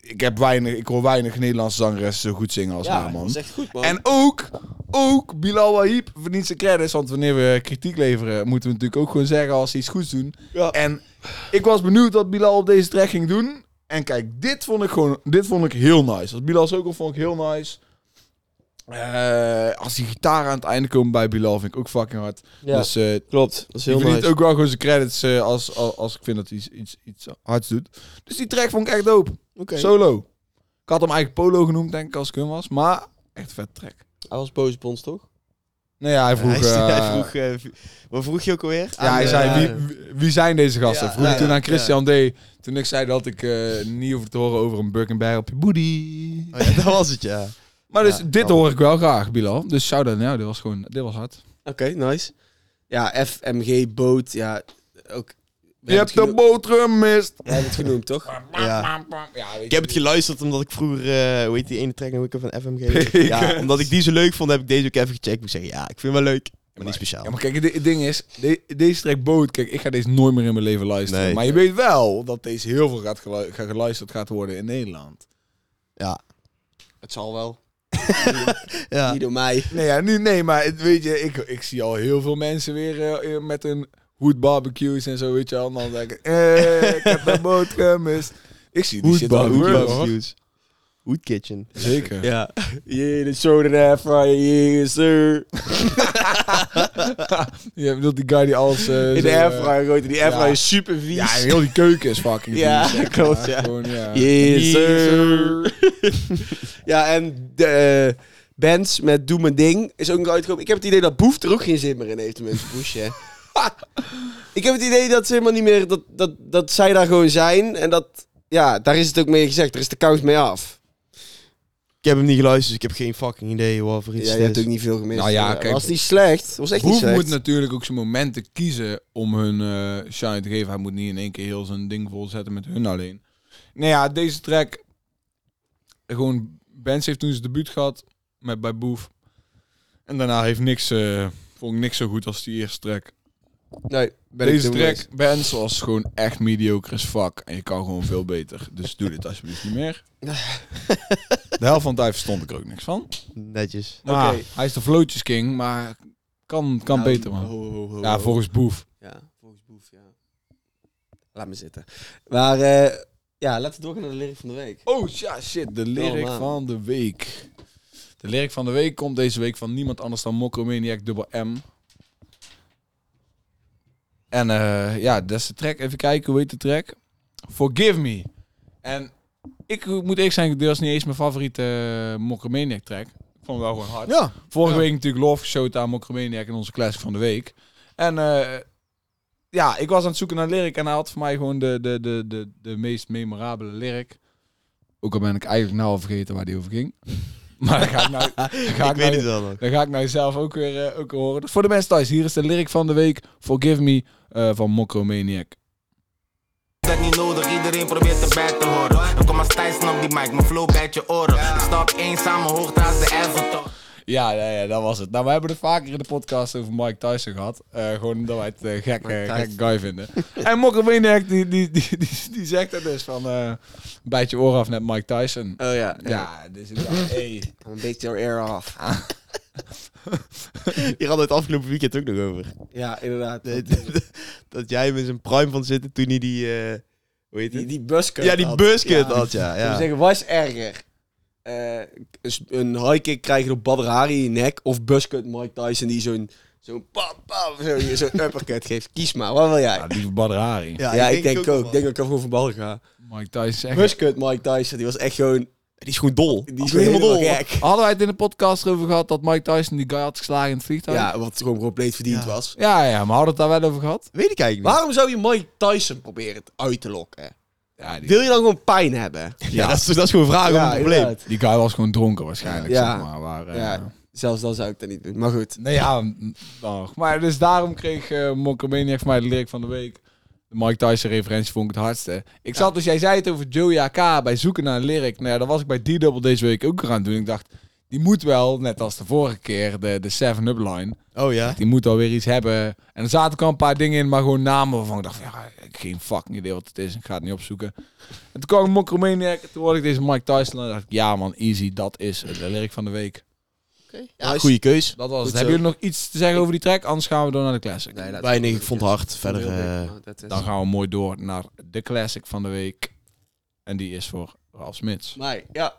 S1: ik, heb weinig, ik hoor weinig Nederlandse zangeressen zo goed zingen als haar, man.
S2: dat is echt goed, man.
S1: En ook, ook Bilal Wahib verdient zijn credits. Want wanneer we kritiek leveren, moeten we natuurlijk ook gewoon zeggen als ze iets goeds doen.
S2: Ja.
S1: En ik was benieuwd wat Bilal op deze track ging doen. En kijk, dit vond ik gewoon, dit vond ik heel nice. Als Bilal ook al vond ik heel nice. Eh, als die gitaar aan het einde komen bij Bilal, vind ik ook fucking hard.
S2: ja,
S1: Dus eh
S2: klopt. Dat is
S1: die
S2: heel
S1: verdient
S2: nice.
S1: ook wel gewoon zijn credits eh, als, als, als ik vind dat hij iets, iets, iets hards doet. Dus die track vond ik echt dope.
S2: Oké.
S1: Solo. Ik had hem eigenlijk Polo genoemd, denk ik, als ik hem was. Maar echt vet track.
S2: Hij was boos op ons, toch?
S1: Nee, ja, hij vroeg...
S3: hij,
S1: eh,
S3: [laughs] hij vroeg eh, wat vroeg je ook alweer?
S1: ja, hij
S2: eh,
S1: zei,
S2: ja.
S1: wie, wie zijn deze gasten?
S2: Ja,
S1: vroeg
S2: ja,
S1: toen
S3: ja,
S1: aan Christian D. Toen ik zei dat ik eh, niet hoef te horen over een Buck Bear op je booty.
S3: [laughs] Oh ja, dat was het, ja.
S1: Maar dus,
S3: Ja,
S1: dit
S3: oh.
S1: hoor ik wel graag, Bilal. Dus shout-out. Nou, dit was gewoon... Dit was hard.
S2: Oké, nice. Ja, FMG, boot, ja, ook... We
S1: Je hebt de boterham mist.
S2: Jij hebt het genoemd, toch?
S3: Ja.
S1: Ja,
S3: [laughs] Ik heb het geluisterd omdat ik vroeger, eh, hoe heet die ene track nou ook van FMG? Ja, omdat [laughs] ik die zo leuk vond, heb ik deze ook even gecheckt. Ik moet zeggen, ja, ik vind hem wel leuk, maar niet speciaal.
S1: Ja, maar kijk, het di- het ding is, de- deze track boot, kijk, ik ga deze nooit meer in mijn leven luisteren.
S3: Nee.
S1: Maar je weet wel dat deze heel veel gaat gelu- gaat geluisterd gaat worden in Nederland.
S3: Ja.
S2: Het zal wel.
S3: ja.
S2: Niet door mij.
S1: Nee, ja, nu, nee maar het- weet je, ik, ik zie al heel veel mensen weer eh, eh, met hun hoed barbecues en zo, weet je wel. En dan denk ik, eh, ik heb de
S2: [laughs]
S1: boot gemist. Ik zie die
S3: Hoed
S1: shit
S3: bar-
S1: wel
S3: hoed
S1: gebeuren, hoor.
S3: barbecues. Hoed kitchen.
S1: Zeker.
S3: Ja.
S2: Yeah, the shoulder that fry, yeah, sir.
S1: Je bedoelt die guy die alles... eh,
S2: In
S1: zo,
S2: de
S1: eh,
S2: airfryer gooit hij. Die airfryer
S1: Ja.
S2: is super vies.
S1: Ja, heel die keuken is fucking
S2: Ja,
S1: vies, zeg maar.
S2: [laughs] klopt, ja.
S1: Gewoon, ja.
S2: Yes,
S1: sir.
S2: sir. [laughs] ja, en de eh, bands met Doe Mijn Ding is ook nog uitgekomen. Ik heb het idee dat Boef er ook geen zin meer in heeft om in te pushen. [laughs] hè. ik heb het idee dat ze helemaal niet meer... Dat, dat, dat zij daar gewoon zijn. En dat... Ja, daar is het ook mee gezegd. Er is de kous mee af.
S3: Ik heb hem niet geluisterd, dus ik heb geen fucking idee wat voor iets
S2: Ja,
S3: het
S2: je hebt
S3: is.
S2: ook niet veel gemist.
S1: Nou ja,
S2: Het
S1: kijk.
S2: was niet slecht. Het was echt niet
S1: Hoef
S2: slecht.
S1: moet natuurlijk ook zijn momenten kiezen om hun eh, shine te geven. Hij moet niet in één keer heel zijn ding volzetten met hun alleen. Nou ja, deze track... Gewoon, Benz heeft toen zijn debuut gehad met bij Boef. En daarna heeft niks... eh, vond ik niks zo goed als die eerste track.
S2: Nee, ben ik
S1: deze
S2: het helemaal
S1: track, Benz, was gewoon echt mediocre as fuck. En je kan gewoon veel beter. Dus doe dit alsjeblieft niet
S2: [laughs]
S1: meer. De helft van de tijd verstond ik er ook niks van.
S3: Netjes.
S1: Maar
S2: Oké.
S1: hij is de Floatjes King, maar kan, kan
S2: Nou,
S1: beter, man.
S2: ho, ho, ho,
S1: Ja,
S2: ho.
S1: volgens Boef.
S2: Ja, volgens Boef, ja. Laat me zitten. Maar eh, ja, laten we doorgaan naar de lyric van de week.
S1: Oh ja, shit. De lyric
S2: Oh, man.
S1: van de week. De lyric van de week komt deze week van niemand anders dan Mokromaniac dubbel M. En eh, ja, dat is de track. Even kijken, hoe heet de track? Forgive Me. En ik moet eerlijk zijn, dit was niet eens mijn favoriete uh, Mokromaniac track. Ik vond hem wel gewoon hard.
S3: Ja.
S1: Vorige
S3: Ja.
S1: week natuurlijk Love geshoot aan Mokromaniac in onze classic van de week. En eh, ja, ik was aan het zoeken naar lyric en hij had voor mij gewoon de, de, de, de, de meest memorabele lyric. Ook al ben ik eigenlijk nou al vergeten waar die over ging. [laughs] Maar dan ga [laughs] ik nou, dan ga ik
S3: ik weet
S1: nou,
S3: het wel
S1: [laughs]
S3: nog.
S1: dan ga ik nou zelf ook weer, eh, ook weer horen. Dus voor de mensen thuis, hier is de lyric van de week. Forgive Me eh, van Mokromaniac.
S4: Dat niet nodig, iedereen probeert erbij te horen. Dan kom als Tyson op die mic, mijn flow bijt je oren. Ik sta op eenzame hoogte als de Everton.
S1: Ja, ja, ja, dat was het. Nou, we hebben het vaker in de podcast over Mike Tyson gehad. Eh, gewoon omdat wij het eh, gek, eh, gek guy vinden. en Mokromaniac, die, die, die, die, die zegt dat dus van... eh bijt je oor af net Mike Tyson.
S2: Oh ja.
S1: ja, dus ik dacht, hey.
S2: Een beetje your air off.
S3: Hier hadden we het afgelopen weekend ook nog over.
S2: Ja, inderdaad.
S3: Dat- dat- [laughs] dat jij hem in zijn prime van zitten toen hij die... eh, hoe heet
S2: Die,
S3: het?
S2: die busker.
S3: ja, die buskut had, ja.
S2: Ik zou
S3: ja.
S2: zeggen, wat is erger? Eh, is een high kick krijgen door Badr Hari in je nek of buskut Mike Tyson die zo'n zo'n pam pam zo'n zo uppercut geeft. Kies maar, wat wil jij?
S1: Ja, die van Badrari.
S2: Ja, ik denk, ook. Ik denk dat ik gewoon voor bal ga.
S1: Mike Tyson is echt...
S2: Buskut Mike Tyson, die was echt gewoon...
S3: Die is gewoon dol.
S2: Die is gewoon helemaal gek.
S1: Hadden wij het in de podcast erover gehad dat Mike Tyson die guy had geslagen in het vliegtuig?
S2: Ja, wat gewoon compleet verdiend
S3: Ja.
S2: was.
S1: Ja, ja, maar hadden we het daar wel over gehad?
S3: Weet ik eigenlijk niet.
S2: Waarom zou je Mike Tyson proberen het uit te lokken?
S1: Ja, die,
S2: Wil je dan gewoon pijn hebben?
S3: Ja, dat, is, dat is gewoon een vraag om een probleem.
S2: inderdaad.
S1: die guy was gewoon dronken waarschijnlijk,
S2: Ja.
S1: zeg maar. Waar, eh,
S2: Ja, zelfs dan zou ik dat niet doen. Maar goed.
S1: Nee, ja, m- nog. Maar dus daarom kreeg eh Mokromaniac voor mij de lyric van de week. De Mike Tyson referentie vond ik het hardste. Ik zat dus, jij zei het over Joey AK bij zoeken naar een lyric. Nou ja, dat was ik bij D-Double deze week ook weer aan het doen. Ik dacht, die moet wel, net als de vorige keer, de, de 7-up line.
S3: Oh ja?
S1: Die moet wel weer iets hebben. En er zaten ook al een paar dingen in, maar gewoon namen waarvan ik dacht, van, ja, ik heb geen fucking idee wat het is. Ik ga het niet opzoeken. En toen kwam ik Mokromaniac, toen hoorde ik deze Mike Tyson. En dacht ik, ja man, easy, dat is de lyric van de week.
S2: Ja,
S3: Goeie keus.
S1: Dat was
S3: Goed
S1: het.
S3: zo.
S1: Hebben jullie nog iets te zeggen over die track? Anders gaan we door naar de classic.
S2: Nee, laat-
S3: Weinig, ik vond het hard. Verder... eh,
S1: Dan gaan we mooi door naar de classic van de week. En die is voor Ralf Smits.
S2: Maar ja,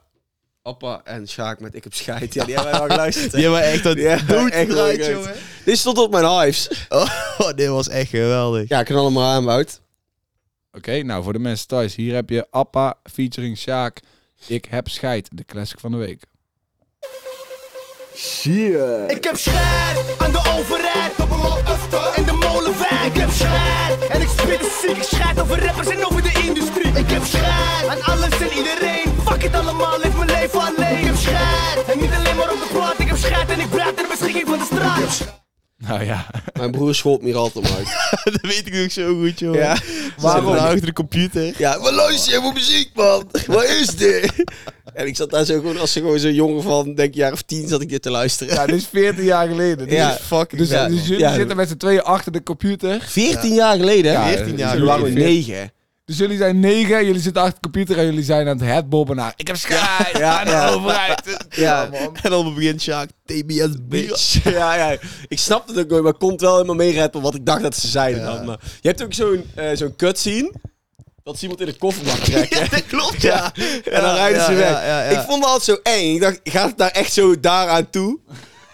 S2: Appa en Sjaak met Ik heb scheid. Ja, die hebben wij wel geluisterd. hè.
S3: [laughs] Die hebben echt dat
S2: Die hebben echt
S3: doodgedraaid,
S2: leuk uit.
S3: jongen.
S2: Dit stond op mijn hives.
S3: Oh, [laughs] dit was echt geweldig.
S2: Ja, knal hem maar aan, Wout.
S1: Oké, nou voor de mensen thuis. Hier heb je Appa featuring Sjaak. Ik heb scheid. De classic van de week.
S5: Ik heb schijt aan de overheid, op hem op after in de molenwijk. Ik heb schijt en ik spit de ziek. Ik schijt over rappers en over de industrie. Ik heb schijt aan alles en iedereen. Fuck het allemaal, leef mijn leven alleen. Ik heb schijt en niet alleen maar op de plaat. Ik heb schijt en ik praat in de beschikking van de straat. Ik heb schijt.
S1: Nou ja,
S2: Mijn broer schoot me hier altijd om uit.
S3: [laughs] dat weet ik nog zo goed, joh.
S2: Ja.
S3: Waarom? Achter de computer.
S2: Ja, maar luister even muziek, man. Wat is dit? En ik zat daar zo gewoon, als ze gewoon zo'n jongen van, denk ik, jaar of tien, zat ik dit te luisteren.
S1: ja dit is 14 jaar geleden. Dit
S2: Ja,
S1: is-
S3: fucking
S1: dus
S2: ja.
S1: dus jullie
S2: Ja.
S1: zitten met z'n tweeën achter de computer.
S2: 14 jaar geleden,
S1: Ja,
S2: hè?
S3: 14 jaar
S2: Toen waren we
S1: geleden.
S2: negen.
S1: Dus jullie zijn negen, jullie zitten achter de computer en jullie zijn aan het headbobben naar... Ik heb scheid
S2: Ja,
S1: aan de
S2: ja.
S1: overheid.
S2: Ja,
S3: En dan begint Sjaak, TBS, bitch.
S2: bitch. Ja, ja. Ik snapte het ook nooit, maar ik kon het wel helemaal meereppen wat ik dacht dat ze zeiden dan. Maar je hebt ook zo'n eh zo'n cutscene, dat ze iemand in de
S3: [laughs]
S2: kofferbak trekken.
S3: dat klopt,
S2: Ja. En dan rijden ze
S3: ja,
S2: weg.
S3: ja, ja, ja.
S2: Ik vond dat altijd zo eng. Ik dacht, gaat het daar echt zo daaraan
S3: [laughs]
S2: toe?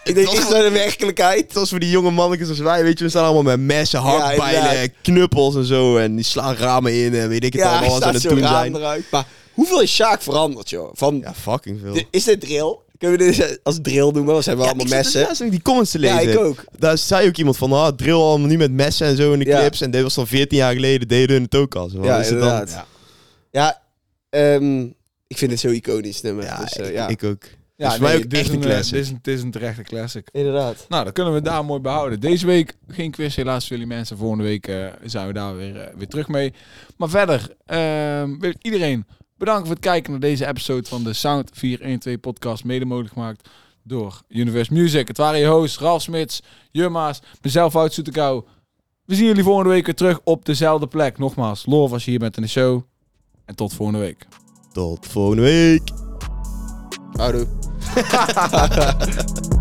S2: Ik denk,
S3: was
S2: is dat de werkelijkheid?
S3: Het was voor die jonge mannetjes als wij, weet je, we staan allemaal met messen, hakbijlen,
S2: inderdaad.
S3: knuppels en zo. En die slaan ramen in en weet ik het
S2: Ja,
S3: allemaal
S2: hij
S3: wat ze aan
S2: staat
S3: het
S2: zo
S3: doen
S2: raam
S3: zijn.
S2: eruit. Maar hoeveel is Sjaak veranderd, joh? Van,
S3: Ja, fucking veel.
S2: de- is dit drill? Kunnen we dit als drill noemen? Want ze hebben
S3: ja,
S2: allemaal
S3: ik zat dus
S2: messen.
S3: laatst nog die comments te lezen.
S2: Ja, ik ook.
S3: Daar zei ook iemand van, ah, drill allemaal nu met messen en zo in de
S2: Ja.
S3: clips. En dit was dan 14 jaar geleden, deden hun het ook al. Zo.
S2: Ja,
S3: Is het dan-
S2: inderdaad. Ja, ehm, ik vind het zo iconisch nummer.
S3: Ja,
S2: dus, eh,
S3: ik-
S2: ja.
S3: ik ook.
S1: Ja,
S3: Ja, voor mij
S1: nee,
S3: ook
S1: dit is
S3: echt een
S1: eh,
S3: classic.
S1: Dit is, een- dit is een terechte classic.
S2: Inderdaad.
S1: Nou, dan kunnen we daar mooi behouden. Deze week geen quiz helaas voor jullie mensen. Volgende week eh, zijn we daar weer, eh, weer terug mee. Maar verder ehm, wil ik iedereen bedanken voor het kijken naar deze episode van de Sound 412 podcast. Mede mogelijk gemaakt door Universe Music. Het waren je hosts Ralf Smits, Jumma's, mezelf Wout Soetekau. We zien jullie volgende week weer terug op dezelfde plek. Nogmaals, love als je hier bent in de show. En tot volgende week.
S3: Tot volgende week.
S2: Houdoe.